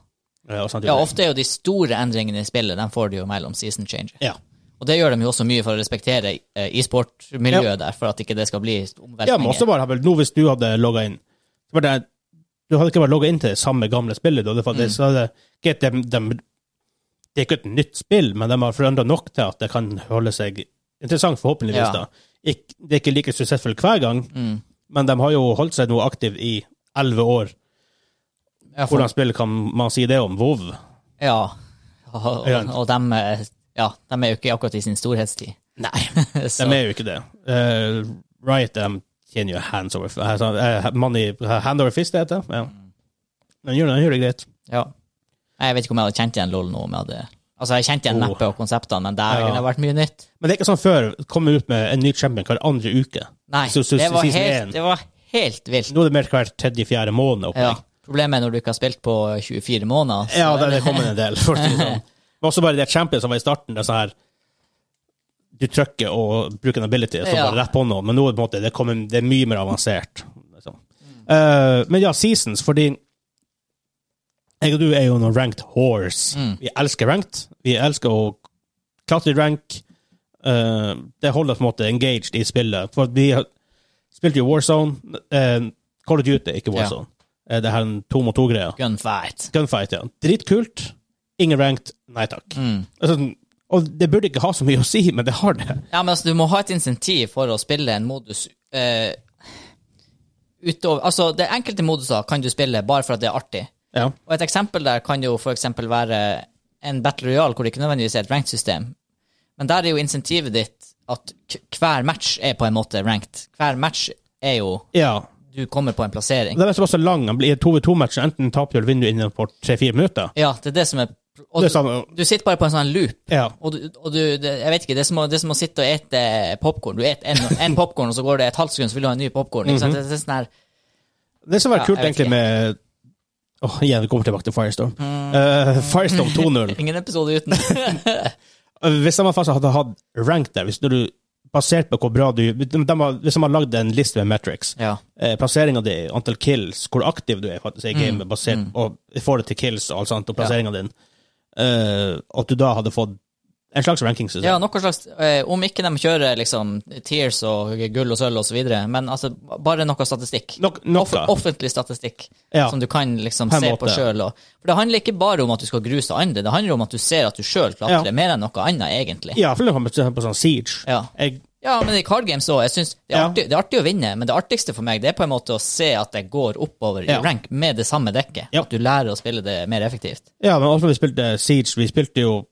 eh, Og sånne ja, typer ting. ofte er jo de store endringene i spillet, de får de jo mellom season changer. ja. Og det gjør de jo også mye for å respektere eh, e-sportmiljøet der, for at ikke det skal bli ja, men også omveltninger. bare, nå hvis du hadde logga inn så var det, Du hadde ikke vært logga inn til det samme gamle spillet. Da, det, for det, Mm. så hadde, greit, de, de, det er ikke et nytt spill, men de har forandra nok til at det kan holde seg interessant, forhåpentligvis. Ja. da. Ikk- det er ikke like suksessfullt hver gang, Mm. men de har jo holdt seg noe aktiv i elleve år. Ja, for- Hvordan spill kan man si det om? WoW? Ja. Og, og, Ja. og dem, eh, ja, dem er jo ikke akkurat i sin storhetstid. Nei. (laughs) Så, De er jo ikke det. Eh, Riot de tjener jo hands over uh, money, Hand over fist, det heter det. Ja. Mm. De gjør, de gjør det greit. ja. Nei, Jeg vet ikke om jeg hadde kjent igjen LOL nå. Om jeg hadde, altså, jeg kjente igjen Oh. neppe og konseptene, men der Ja. kunne det vært mye nytt. Men det er ikke sånn før kom vi ut med en ny champion hver andre uke. Nei, Så- så- det, var season én. helt, det var helt vilt. Nå er det mer hver tredje-fjerde måned. opplegg. Ja. Problemet er når du ikke har spilt på 24 måneder. så ja, det, er det kommer en del. For å si det sånn. Men også bare det champion som var i starten. det er sånn her Du trykker og bruker en ability, så Ja. bare rett på noen. Men nå er det på en måte, det, kommer, det er mye mer avansert. Liksom. Eh, men ja, seasons, fordi jeg og du er jo noen ranked horse. Vi elsker ranked. Vi elsker å klatre i rank. Eh, det holder oss på en måte engaged i spillet. For vi har- spilte jo Warzone. Uh, Call of Duty, ikke Warzone. Eh, det her er en to mot to-greia. Gunfight. Gunfight, ja. Dritkult. Ingen ranked. Nei takk. Mm. Altså, og det burde ikke ha så mye å si, men det har det. Ja, men altså, du må ha et insentiv for å spille en modus eh, utover Altså, det er enkelte moduser kan du spille bare for at det er artig. Ja. Og et eksempel der kan jo for eksempel være en Battle Royale hvor det ikke nødvendigvis er et ranked system. Men der er jo insentivet ditt at k- hver match er på en måte ranked. Hver match er jo Ja. Du kommer på en plassering. Den er såpass lang. Han blir 2v2-match. Enten taper du eller vinner du innenfor 3-4 minutter. Ja, det er det som er og Det du, er sånn, du sitter bare på en sånn loop. ja. Og du, og du det, Jeg vet ikke, det er som å, det er som å sitte og ete popkorn. Du et en, en popkorn, og så går det et halvt sekund, så vil du ha en ny popkorn. Mm Mhm. -hmm. det, det er sånn her Det som var Ja, kult, jeg vet egentlig, ikke. med Åh, igjen, vi kommer tilbake til Firestorm. Mm. Eh, Firestorm (laughs) 2.0. Ingen episode uten. Hvis de faktisk hadde hatt rank der, hvis du, basert på hvor bra du de, har- Hvis de hadde lagd en liste med metrics, ja. eh, plasseringa di, antall kills, hvor aktiv du er faktisk Mm. i gamet, basert og får det til kills og alt sånt, og plasseringa din, eh, at du da hadde fått en slags rankingsystem. ja, noe slags eh, Om ikke de kjører liksom tears og gull og sølv og så videre, men altså bare noe statistikk. Nok, nok, Off offentlig statistikk Ja. som du kan liksom På en se måte. på sjøl. For det handler ikke bare om at du skal gruse andre, det handler om at du ser at du sjøl klatrer Ja. mer enn noe annet, egentlig. ja, for eksempel på sånn Siege. Ja. Jeg, Ja, men i card games òg. Jeg synes det, er Ja. artig- det er artig å vinne, men det artigste for meg det er på en måte å se at jeg går oppover Ja. i rank med det samme dekket. Ja. At du lærer å spille det mer effektivt. ja, men også når vi spilte Siege, vi spilte jo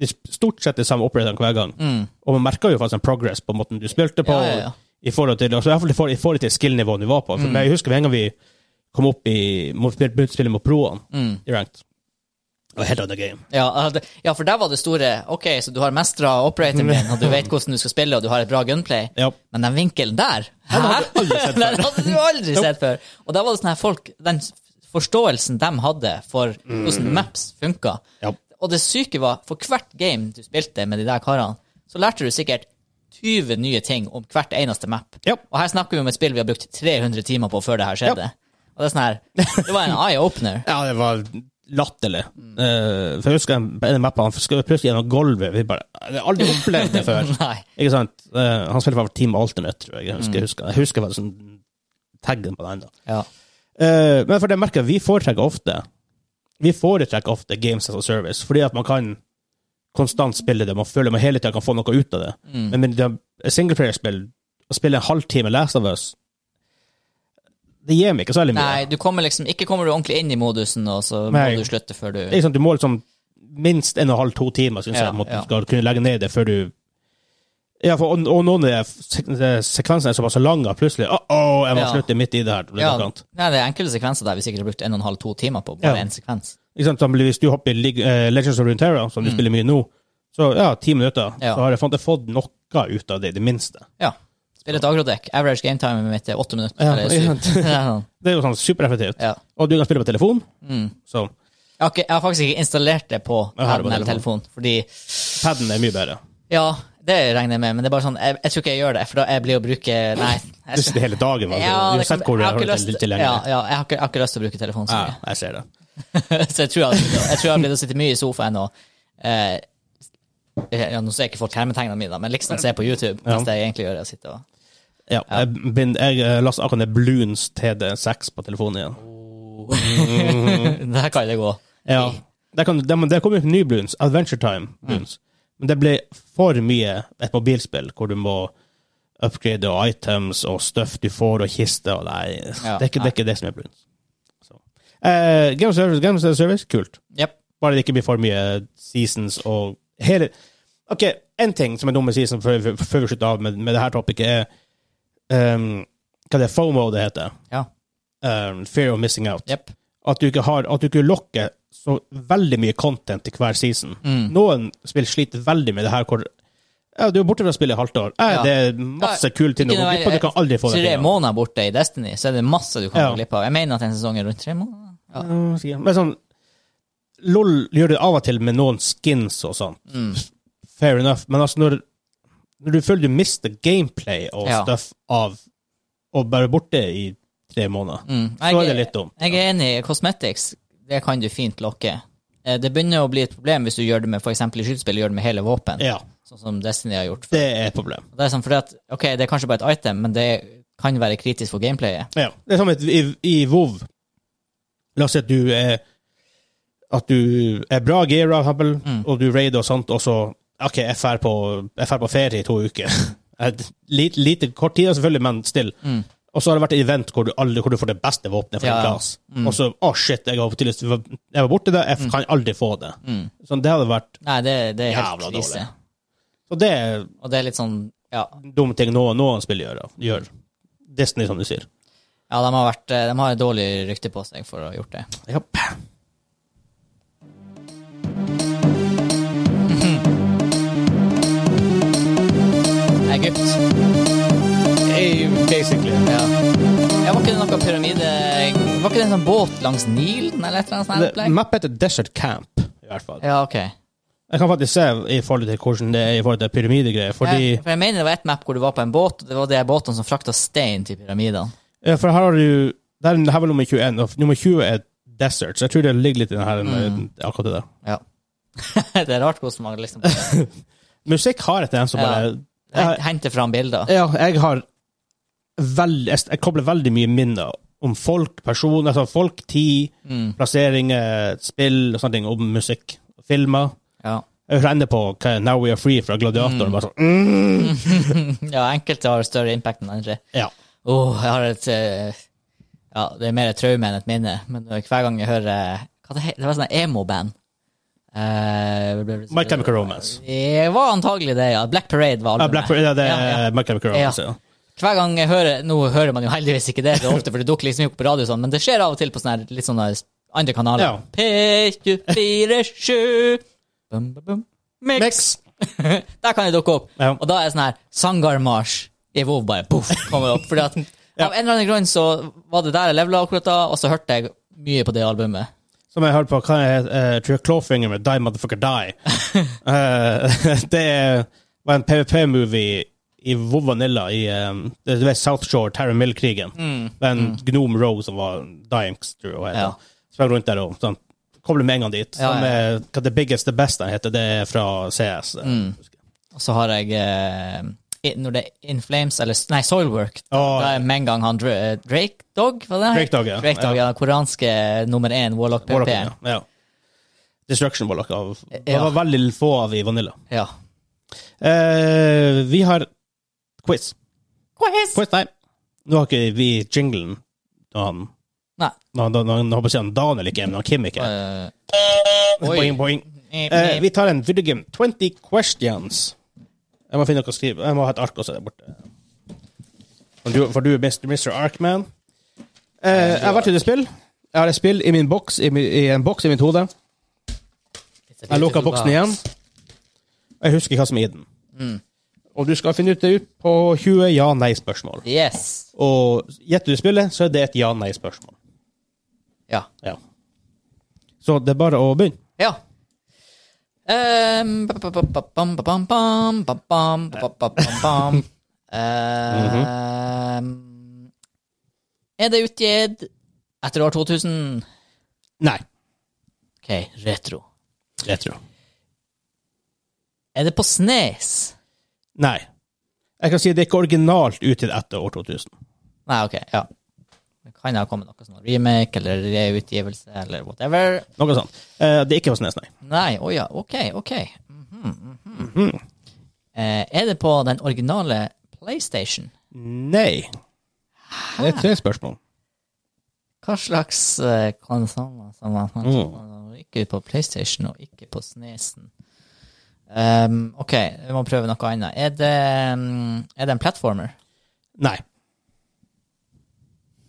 vi sp- stort sett de samme operatørene hver gang, og man merka jo faktisk en progress på måten du spilte på. Mm. Ja, ja, Mm. ja. I forhold til, altså, i hvert fall i forhold- i forhold til skill-nivået vi var på. For Jeg husker en gang vi kom opp i mot- begynte å spille mot proene Mm. i ranked. Det var helt annet game. Ja, altså, ja, for der var det store OK, så du har mestra operatoren din, og du vet hvordan du skal spille, og du har et bra gunplay, Ja. men den vinkelen der Hæ?! (laughs) Den hadde jeg aldri sett før. hadde du aldri sett før! Og der var det sånn her folk Den forståelsen de hadde for hvordan maps funka, Mm. Ja. Og det syke var, for hvert game du spilte med de der karene, så lærte du sikkert 20 nye ting om hvert eneste map. Ja. Og her snakker vi om et spill vi har brukt 300 timer på før det her skjedde. Og det er sånn her, det var en (laughs) eye-opener. Ja, det var latterlig. Mm. Eh, for jeg husker en, på en mappe, han skulle plutselig gjennom gulvet. Vi bare, jeg har aldri opplevd det (laughs) før. Nei. Mm. ikke sant? Eh, han spilte for Team Alternate, tror jeg. Jeg husker, jeg husker, jeg husker faktisk sånn taggen på den. da. Ja. Eh, men for det merker jeg, vi foretrekker ofte Vi foretrekker ofte Games as a Service, fordi at man kan konstant spille det. Man føler man hele tida kan få noe ut av det. Mm. Men med det- singleplayerspill, å spille en halvtime Last of Us, det gir meg ikke særlig mye. Nei, du kommer liksom, ikke kommer du ordentlig inn i modusen, og så Nei. må du slutte før du... Det er liksom, du må liksom minst en og en halv, to timer, synes Ja, jeg, måtte, ja. skal kunne legge ned det før du ja, for, og, og noen av de sek- de sekvensene er såpass lange at plutselig Å, å, jeg må Ja. slutte midt i det her. Det blir Ja, noe annet. nei, det er enkelte sekvenser der vi sikkert har brukt en og en halv, to timer på, bare Ja. en sekvens. Ikke sant? Sånn, Hvis du hopper i Lig- eh, Legends of Runeterra, som du spiller mye nå, så ja, ti minutter, Mm. Ja. så har jeg fant- jeg fått noe ut av det, i det minste. Ja. Spiller et agrodekk. Average game time mitt er åtte minutter. Ja, eller ikke (laughs) syv. Ja, Det er jo sånn supereffektivt. ja. Mm. Og du kan spille på telefon, så Jeg har, ikke, jeg har faktisk ikke installert det på Jeg har det på paden eller telefonen. telefonen. Fordi, paden er mye bedre. ja, det regner jeg med, men det er bare sånn, jeg, jeg tror ikke jeg gjør det, for da jeg blir å bruke Nei. Jeg, Hvis det hele dagen var ja, Du det har kan- sett hvor du jeg har det lyst- litt lenger. Ja, ja jeg, har ikke, jeg har ikke lyst til å bruke telefonen så ja, mye. jeg ser det. (laughs) så jeg tror jeg, jeg tror jeg har blitt å sitte mye i sofaen og eh, ja, Nå ser jeg ikke folk hermetegnene mine, men liksom se på YouTube. Ja. Mens det jeg egentlig gjør, er å sitte og (laughs) Ja, Jeg, bind- jeg eh, lastet akkurat ned Bloons TD6 på telefonen igjen. Der kan det gå. Ja. Der, kan, der, der kom jo ny Bloons, Adventure Time Mm. Bloons. Men det ble for mye et mobilspill hvor du må upgrade og items og stuff du får, og kister og Nei, Ja, det, er ikke, nei. det er ikke det som er Bloons. Så. Eh, Game of Service, Game of Service, kult. Jep. Bare det ikke blir for mye seasons og hele OK, én ting som er dum med season før, før- før vi slutter av med, med det her topicet, er um, hva det er FOMO det heter. Ja. Um, fear of missing out Jep. at du ikke har, at du ikke lokker så veldig mye content til hver season. Mm. Noen spill sliter veldig med det her hvor ja, du er borte fra spillet i halvt år. Eh, Ja. Det er masse kule ting du går glipp av. Du kan aldri få det Tre til. måneder borte i Destiny, så er det masse du kan Ja. gå glipp av. Jeg mener at en sesong er rundt tre måneder. Ja. Ja, sikkert. Men sånn LOL gjør det av og til med noen skins og sånn. Mm. Fair enough. Men altså, når, når du føler du mister gameplay og Ja. stuff av å være borte i tre måneder, Mm. så er det litt dumt. Jeg er enig. Cosmetics, det kan du fint lokke. Eh, Det begynner å bli et problem hvis du gjør det med for eksempel i skytespill, gjør det med hele våpen, Ja, sånn som Destiny har gjort. det er et problem. Det er sånn fordi at, ok, det er kanskje bare et item, men det kan være kritisk for gameplayet. Ja. Det er som et, i, i WoW. La oss si at du er at du er bra gear, for eksempel, Mm. og du raider og sånt, og så OK, jeg drar på, jeg drar på ferie i to uker. (laughs) Et Lite, lite kort tid, selvfølgelig, men still. Og så har det vært et event hvor du, aldri, hvor du får det beste våpenet fra Mm. Ja, en ja. Mm. plass. Og så Å, shit, jeg var, tydeligvis- jeg var borti det, jeg kan aldri få det. Mm. Sånn, det hadde vært Nei, det, det er helt Jævla krise. dårlig. Så det er Og det er litt sånn, ja. dumme ting noen, noen spill gjør. gjør. Disney, som du sier. Ja, de har, vært, eh, de har et dårlig rykte på seg for å ha gjort det. Ja. Egypt. Basically. Ja. ja var ikke det noe pyramide Var ikke det en sånn båt langs Nilen eller et eller annet sånt? Det- opplegg? Map heter Desert Camp, i hvert fall. Ja, ok. Jeg kan faktisk se i forhold til hvordan det er i forhold til pyramidegreier, fordi Ja, for jeg mener det var ett map hvor du var på en båt, og det var de båtene som frakta stein til pyramidene. Ja, For her har du det er- det her var nummer 21, og nummer 20 er Desert, så jeg tror det ligger litt i den her, eh, akkurat det der. Ja. (laughs) det er rart hvordan man liksom Musikk har et en som Ja. bare hent- henter fram bilder. Ja, jeg har veld, jeg, jeg kobler veldig mye minner om folk, personer, altså folk, tid, plasseringer, spill og sånne ting, om musikk, filmer. Ja. (laughs) Jeg renner på hva Now We Are Free fra Gladiator. Bare sånn, mm. ja, enkelte har større impact enn andre. ja. Åh, jeg har et eh, Ja, det er mer et traume enn et minne, men hver gang jeg hører Hva det, he- det var sånn emo-band. Eh, My Chemical Romance. Det var antagelig det, ja. Black Parade var Ja, Ah, Black Parade, ja, det er Ja, ja. My Chemical Romance. altså, Ja. Hver gang jeg hører Nå hører man jo heldigvis ikke det så ofte, for det dukker liksom ikke opp på radio, og sånn, men det skjer av og til på sånne her- litt sånne andre kanaler. Ja. P247 Bum, bum, bum. Mix. Mix. Der kan det dukke opp. Ja. Og da er det sånn her Sangarmarsj i WoW bare poff kommer opp. (laughs) Fordi at av en eller annen grunn så var det der jeg levela akkurat da, og så hørte jeg mye på det albumet. Som jeg hørte på, hva jeg uh, tror jeg Clawfinger med Die Motherfucker (laughs) Die. Eh, (laughs) det var en PVP-movie i WoW Vanilla i um, det det var South Shore, Terry Mill-krigen. Det var en Gnome Roe som var Dyingster og Mm. Ja. heter. Sprang rundt der og sånn. Kobler med en gang dit. Ja, Som ja. er, hva The Biggest The Best den heter, det er fra CS. Mm. Og så har jeg eh, i- Når det er In Flames, eller s- nei, Soilwork, da, Å, da er med en gang han Dra eh, Drake Dog, var det? Drake Dog, ja. Drake Dog, ja. Den koreanske nummer én, Warlock PP. Warlock, ja. ja. Destruction Warlock. Av, Det Ja. var veldig få av i Vanilla. Ja. Eh, vi har quiz. Quiz! Quiz time. Nå har ikke vi jinglen når han Nei. Nå, nå, nå, nå håper jeg å si han Daniel ikke er med, han Kim ikke er. eh, Boing, boing. eh, Eh, vi tar en video game. 20 questions. Jeg må finne noe å skrive. Jeg må ha et ark også der borte. For du, for du er Mr. Mr. Arkman. Eh, jeg har vært ute i spill. Jeg har et spill i min boks, i, min, i en boks i mitt hode. eh, Jeg lukker boksen igjen. Jeg husker hva som er i den. Og du skal finne ut det ut på 20 ja-nei-spørsmål. Yes. Og gjetter du spillet, så er det et ja-nei-spørsmål. Ja. Ja. Så det er bare å begynne. Ja. Ehm, ba- ba- ba- ba- bam- ba- bam- bam, ba- bam, ba- ba- ba- bam- bam. Ehm, Er det utgitt etter år 2000? Nei. OK, retro. Det tror jeg. Er det på Snes? Nei. Jeg kan si det er ikke originalt utgitt etter år 2000. Nei, OK, ja. Det kan ha kommet noe sånn remake eller reutgivelse eller whatever. Noe sånt. Eh, det er ikke på Snes, nei. Nei, å ja, OK, OK. Mhm, mhm. Eh, er det på den originale PlayStation? Nei. Det er tre spørsmål. Hva slags uh, konsoller som var Mm. ikke på PlayStation og ikke på Snesen? Um, OK, vi må prøve noe annet. Er det, um, er det en platformer? Nei.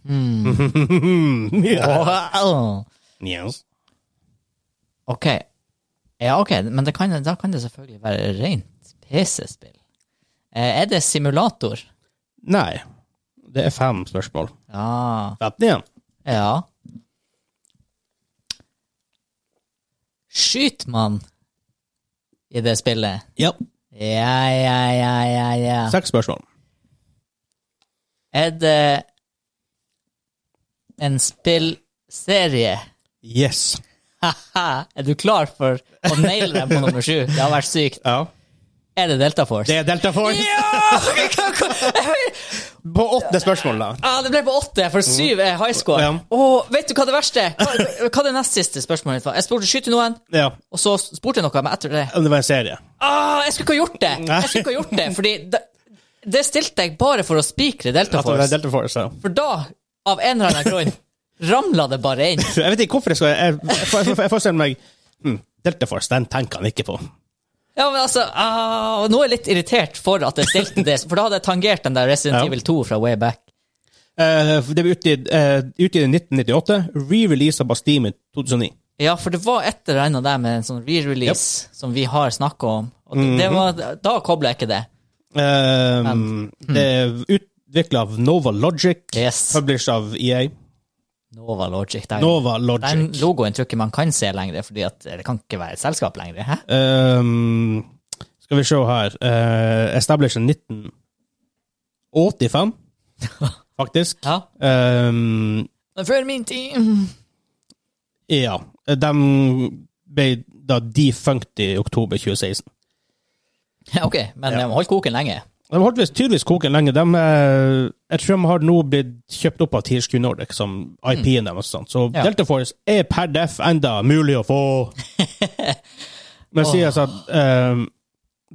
Hmm. (laughs) ja. Wow. Yes. OK. Ja, ok, men det kan, da kan det selvfølgelig være rent PC-spill. Eh, er det simulator? Nei. Det er fem spørsmål. Ja. Femten igjen. ja. Skyter man i det spillet? Ja. Ja, ja, ja, ja, ja. Seks spørsmål. Er det en spillserie? Yes. Haha, er du klar for å naile dem på nummer sju? Det har vært sykt. Ja. Er det Delta Force? Det er Delta Force. (laughs) På åttende spørsmål, da. Ah, det ble på åtte, for syv er high score. Ja. Åh, vet du hva det verste er? Hva, hva det nest siste spørsmålet mitt var? Jeg spurte skyte noen, Ja. og så spurte jeg noe, men etter det Om det var en serie. ah, Jeg skulle ikke ha gjort det! Nei. Jeg skulle ikke ha gjort det, fordi det, det stilte jeg bare for å spikre Delta At det var Force. Delta Force, ja. For da, av en eller annen grunn, ramla det bare inn. Jeg vet ikke hvorfor jeg skal Jeg, jeg, får- jeg, får- jeg forestiller meg hm, Delta Force, den tenker han ikke på. Ja, men altså, ah, og nå er jeg litt irritert for at jeg stilte det, for da hadde jeg tangert den der Resident Ja. Evil 2 fra way back. Eh, det ble utgitt, eh, utgitt i 1998. Re-releasa på Steam i 2009. Ja, for det var et eller annet der med en sånn re-release som vi har snakka om. Og det, det Mhm. var, da kobler jeg ikke det. Eh, Det er utvikla av Nova Logic, Hmm. Yes. published av EA. Nova Logic. Der. Nova Logic. Den logoen tror jeg ikke man kan se lenger, fordi at det kan ikke være et selskap lenger. Hæ? Ehm, skal vi se her. Uh, established 1985, (laughs) faktisk. Ja. Ehm, Men før min tid (laughs) ja. De ble da defunkt i oktober 2016. Ja, Ok, men Ja. de holdt koken lenge. De holdt visst tydeligvis koken lenge. De, eh, jeg tror de har nå blitt kjøpt opp av THQ Nordic som IP-en deres. og sånt. Så Ja. Delta Force er per def enda mulig å få. Men sier altså at ehm,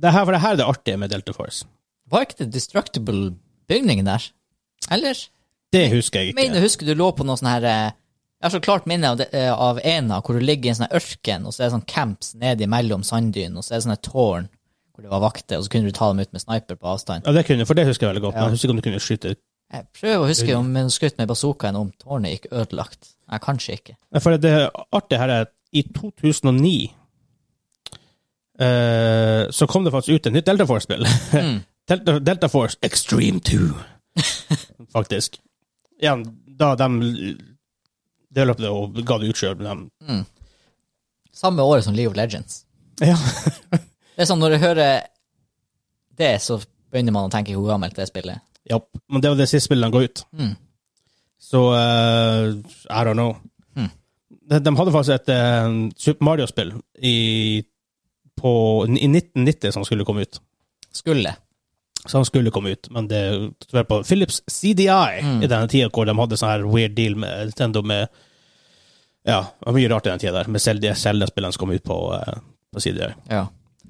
det her, For det her er det artige med Delta Force. Var ikke det Destructible bygningen der? Eller? Det husker jeg ikke. Mener, husker du lå på noe sånn her eh, Jeg har så klart minne av, det, eh, av Ena, hvor du ligger i en sånn her ørken, og så er det sånn camps ned imellom sanddyn, og så er det sånne tårn hvor det var vakter, og så kunne du ta dem ut med sniper på avstand. Ja, det kunne, for det husker jeg veldig godt. Men jeg husker ikke om du kunne skyte Jeg prøver å huske om hun skjøt med bazookaen, om tårnet gikk ødelagt. Nei, kanskje ikke. Nei, For det artige her er at i 2009 eh, så kom det faktisk ut et nytt Delta Force-spill. Mm. (laughs) Delta, Delta Force Extreme 2. (laughs) faktisk. Igjen, da de delte det og ga det ut sjøl, men de Samme året som League of Legends. (laughs) Ja. Det er sånn, når jeg hører det, så begynner man å tenke hvor gammelt det spillet er. ja. Men det var det siste spillet de ga ut. Mm. Så eh, I don't know. Mm. De, de hadde faktisk et eh, Super Mario-spill i, på- i 1990 som skulle komme ut. Skulle. Så han skulle komme ut, men det var på Philips CDI Mm. i denne tida hvor de hadde sånn her weird deal med Nintendo med Ja, det var mye rart i den tida der, med Zelda- Zelda-spillene som kom ut på, eh, på CDI. Ja.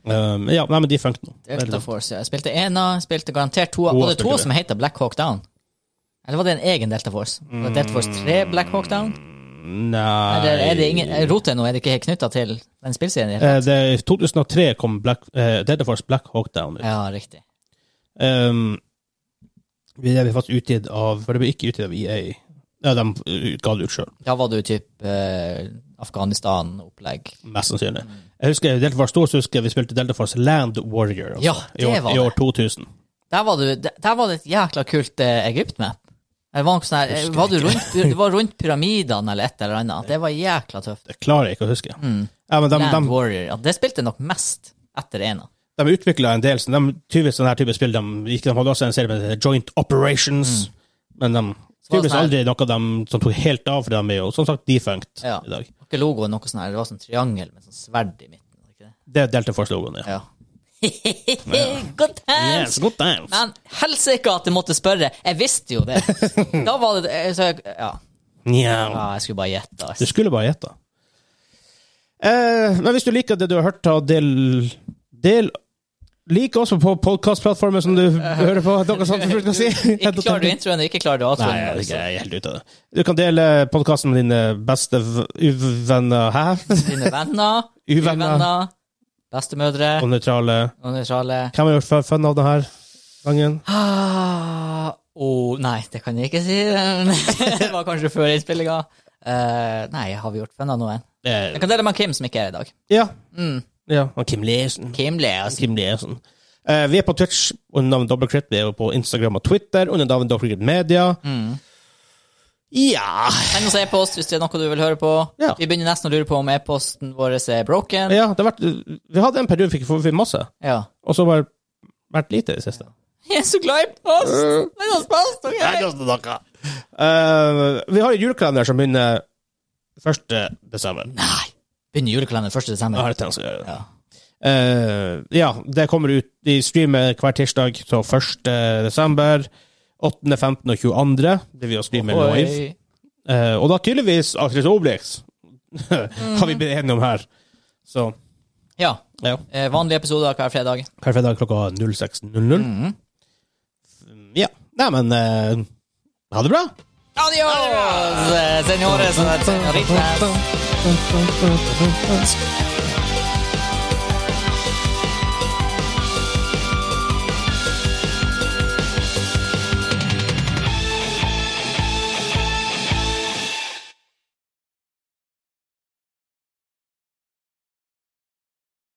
Um, ja, nei, men de funkte nå. Delta Force, ja. Jeg spilte ena, jeg spilte garantert to. Var det spilte to vi. som heter Black Hawk Down? Eller var det en egen Delta Force? Var det Delta Force 3 Black Hawk Down? Nei Eller er det ingen Roter jeg nå, er det ikke knytta til den spillserien? i det hele tatt? Eh, det, I 2003 kom Black, eh, Delta Force Black Hawk Down ut. Ja, riktig. Um, det ble faktisk utgitt av For det ble ikke utgitt av EA. Ja, de eh, ga det ut sjøl. Da var du typ eh, Afghanistan-opplegg. Mest sannsynlig. Jeg husker Delta Force 2, så husker jeg vi spilte Delta Force Land Warrior. altså, Ja, I det år, var I det. år 2000. Der var, du, der- der var det et jækla kult eh, Egypt-map. Det var, noe sånn her, Husker var du rundt, det var rundt pyramidene eller et eller annet. Det var jækla tøft. Det klarer jeg ikke å huske. Ja, men de, Mm. Land de, Warrior. Ja, det spilte nok mest etter ena. de utvikla en del så de, tydeligvis sånne her type spill. De, gikk- de hadde også en serie med Joint Operations, men de var Mm. det tydeligvis sånn aldri noe de, som tok helt av, for de er jo som sagt defunct Ja. i dag. Var Ikke logoen noe sånn her, det var sånn triangel med sånn sverd i midten. var det Ikke det? Det er Delta Force-logoen, Ja. ja. (laughs) Good times! Yes, good times. Men helsike at jeg måtte spørre. Jeg visste jo (laughs) det. Da var det eh, så jeg, ja. Nja. ja, jeg skulle bare gjette. Du ass. skulle bare gjette. Eh, men hvis du liker det du har hørt, ta del, del Lik oss på podkastplattformen som du (laughs) hører på. Dere som skal si. Eh, (laughs) Ikke klarer du introen, ikke klarer du Nei, outroen. jeg, er ikke- altså. jeg er helt ute av det. Du kan dele podkasten med dine beste v- uvenner her, (laughs) Dine (laughs) venner, Uvenner. uvenner, bestemødre og nøytrale. og nøytrale. Hvem har gjort fun av denne gangen? Ah, oh, nei, det kan jeg ikke si. (laughs) det var kanskje før innspillinga. Eh, nei, har vi gjort fun av noen? Jeg Eh, kan dele med Kim, som ikke er her i dag. ja. Mm. ja. Og Kim Lesen. Kim ler. Altså. Kim Lesen. Eh, vi er på Twitch under navnet Dobbeltkritt. Vi er jo på Instagram og Twitter under navnet Dobbeltkritt Media. Mm. Ja Send oss e-post hvis det er noe du vil høre på. Ja. Vi begynner nesten å lure på om e-posten vår er broken. Ja, det har vært, vi hadde en periode vi fikk vi fikk masse, Ja. (laughs) og så bare vært lite i det siste. Jeg er så glad i post! Men oss post, ok? Eh, vi har en julekalender som begynner 1. desember. Nei. Begynner julekalenderen 1. Jeg desember. har tenkt å gjøre det. Ja. Eh, ja, det kommer ut Vi streamer hver tirsdag, så 1. desember. 8., 15. og 22. Det vi å streame live. Oi. Eh, og da tydeligvis Astrid Obelix (laughs) har vi blitt enige om her. Så Ja. ja. eh, Vanlige episoder hver fredag. Hver fredag klokka 06.00. Ja. Nei, men eh, ha det bra! Adios, eh, senores og senoritas.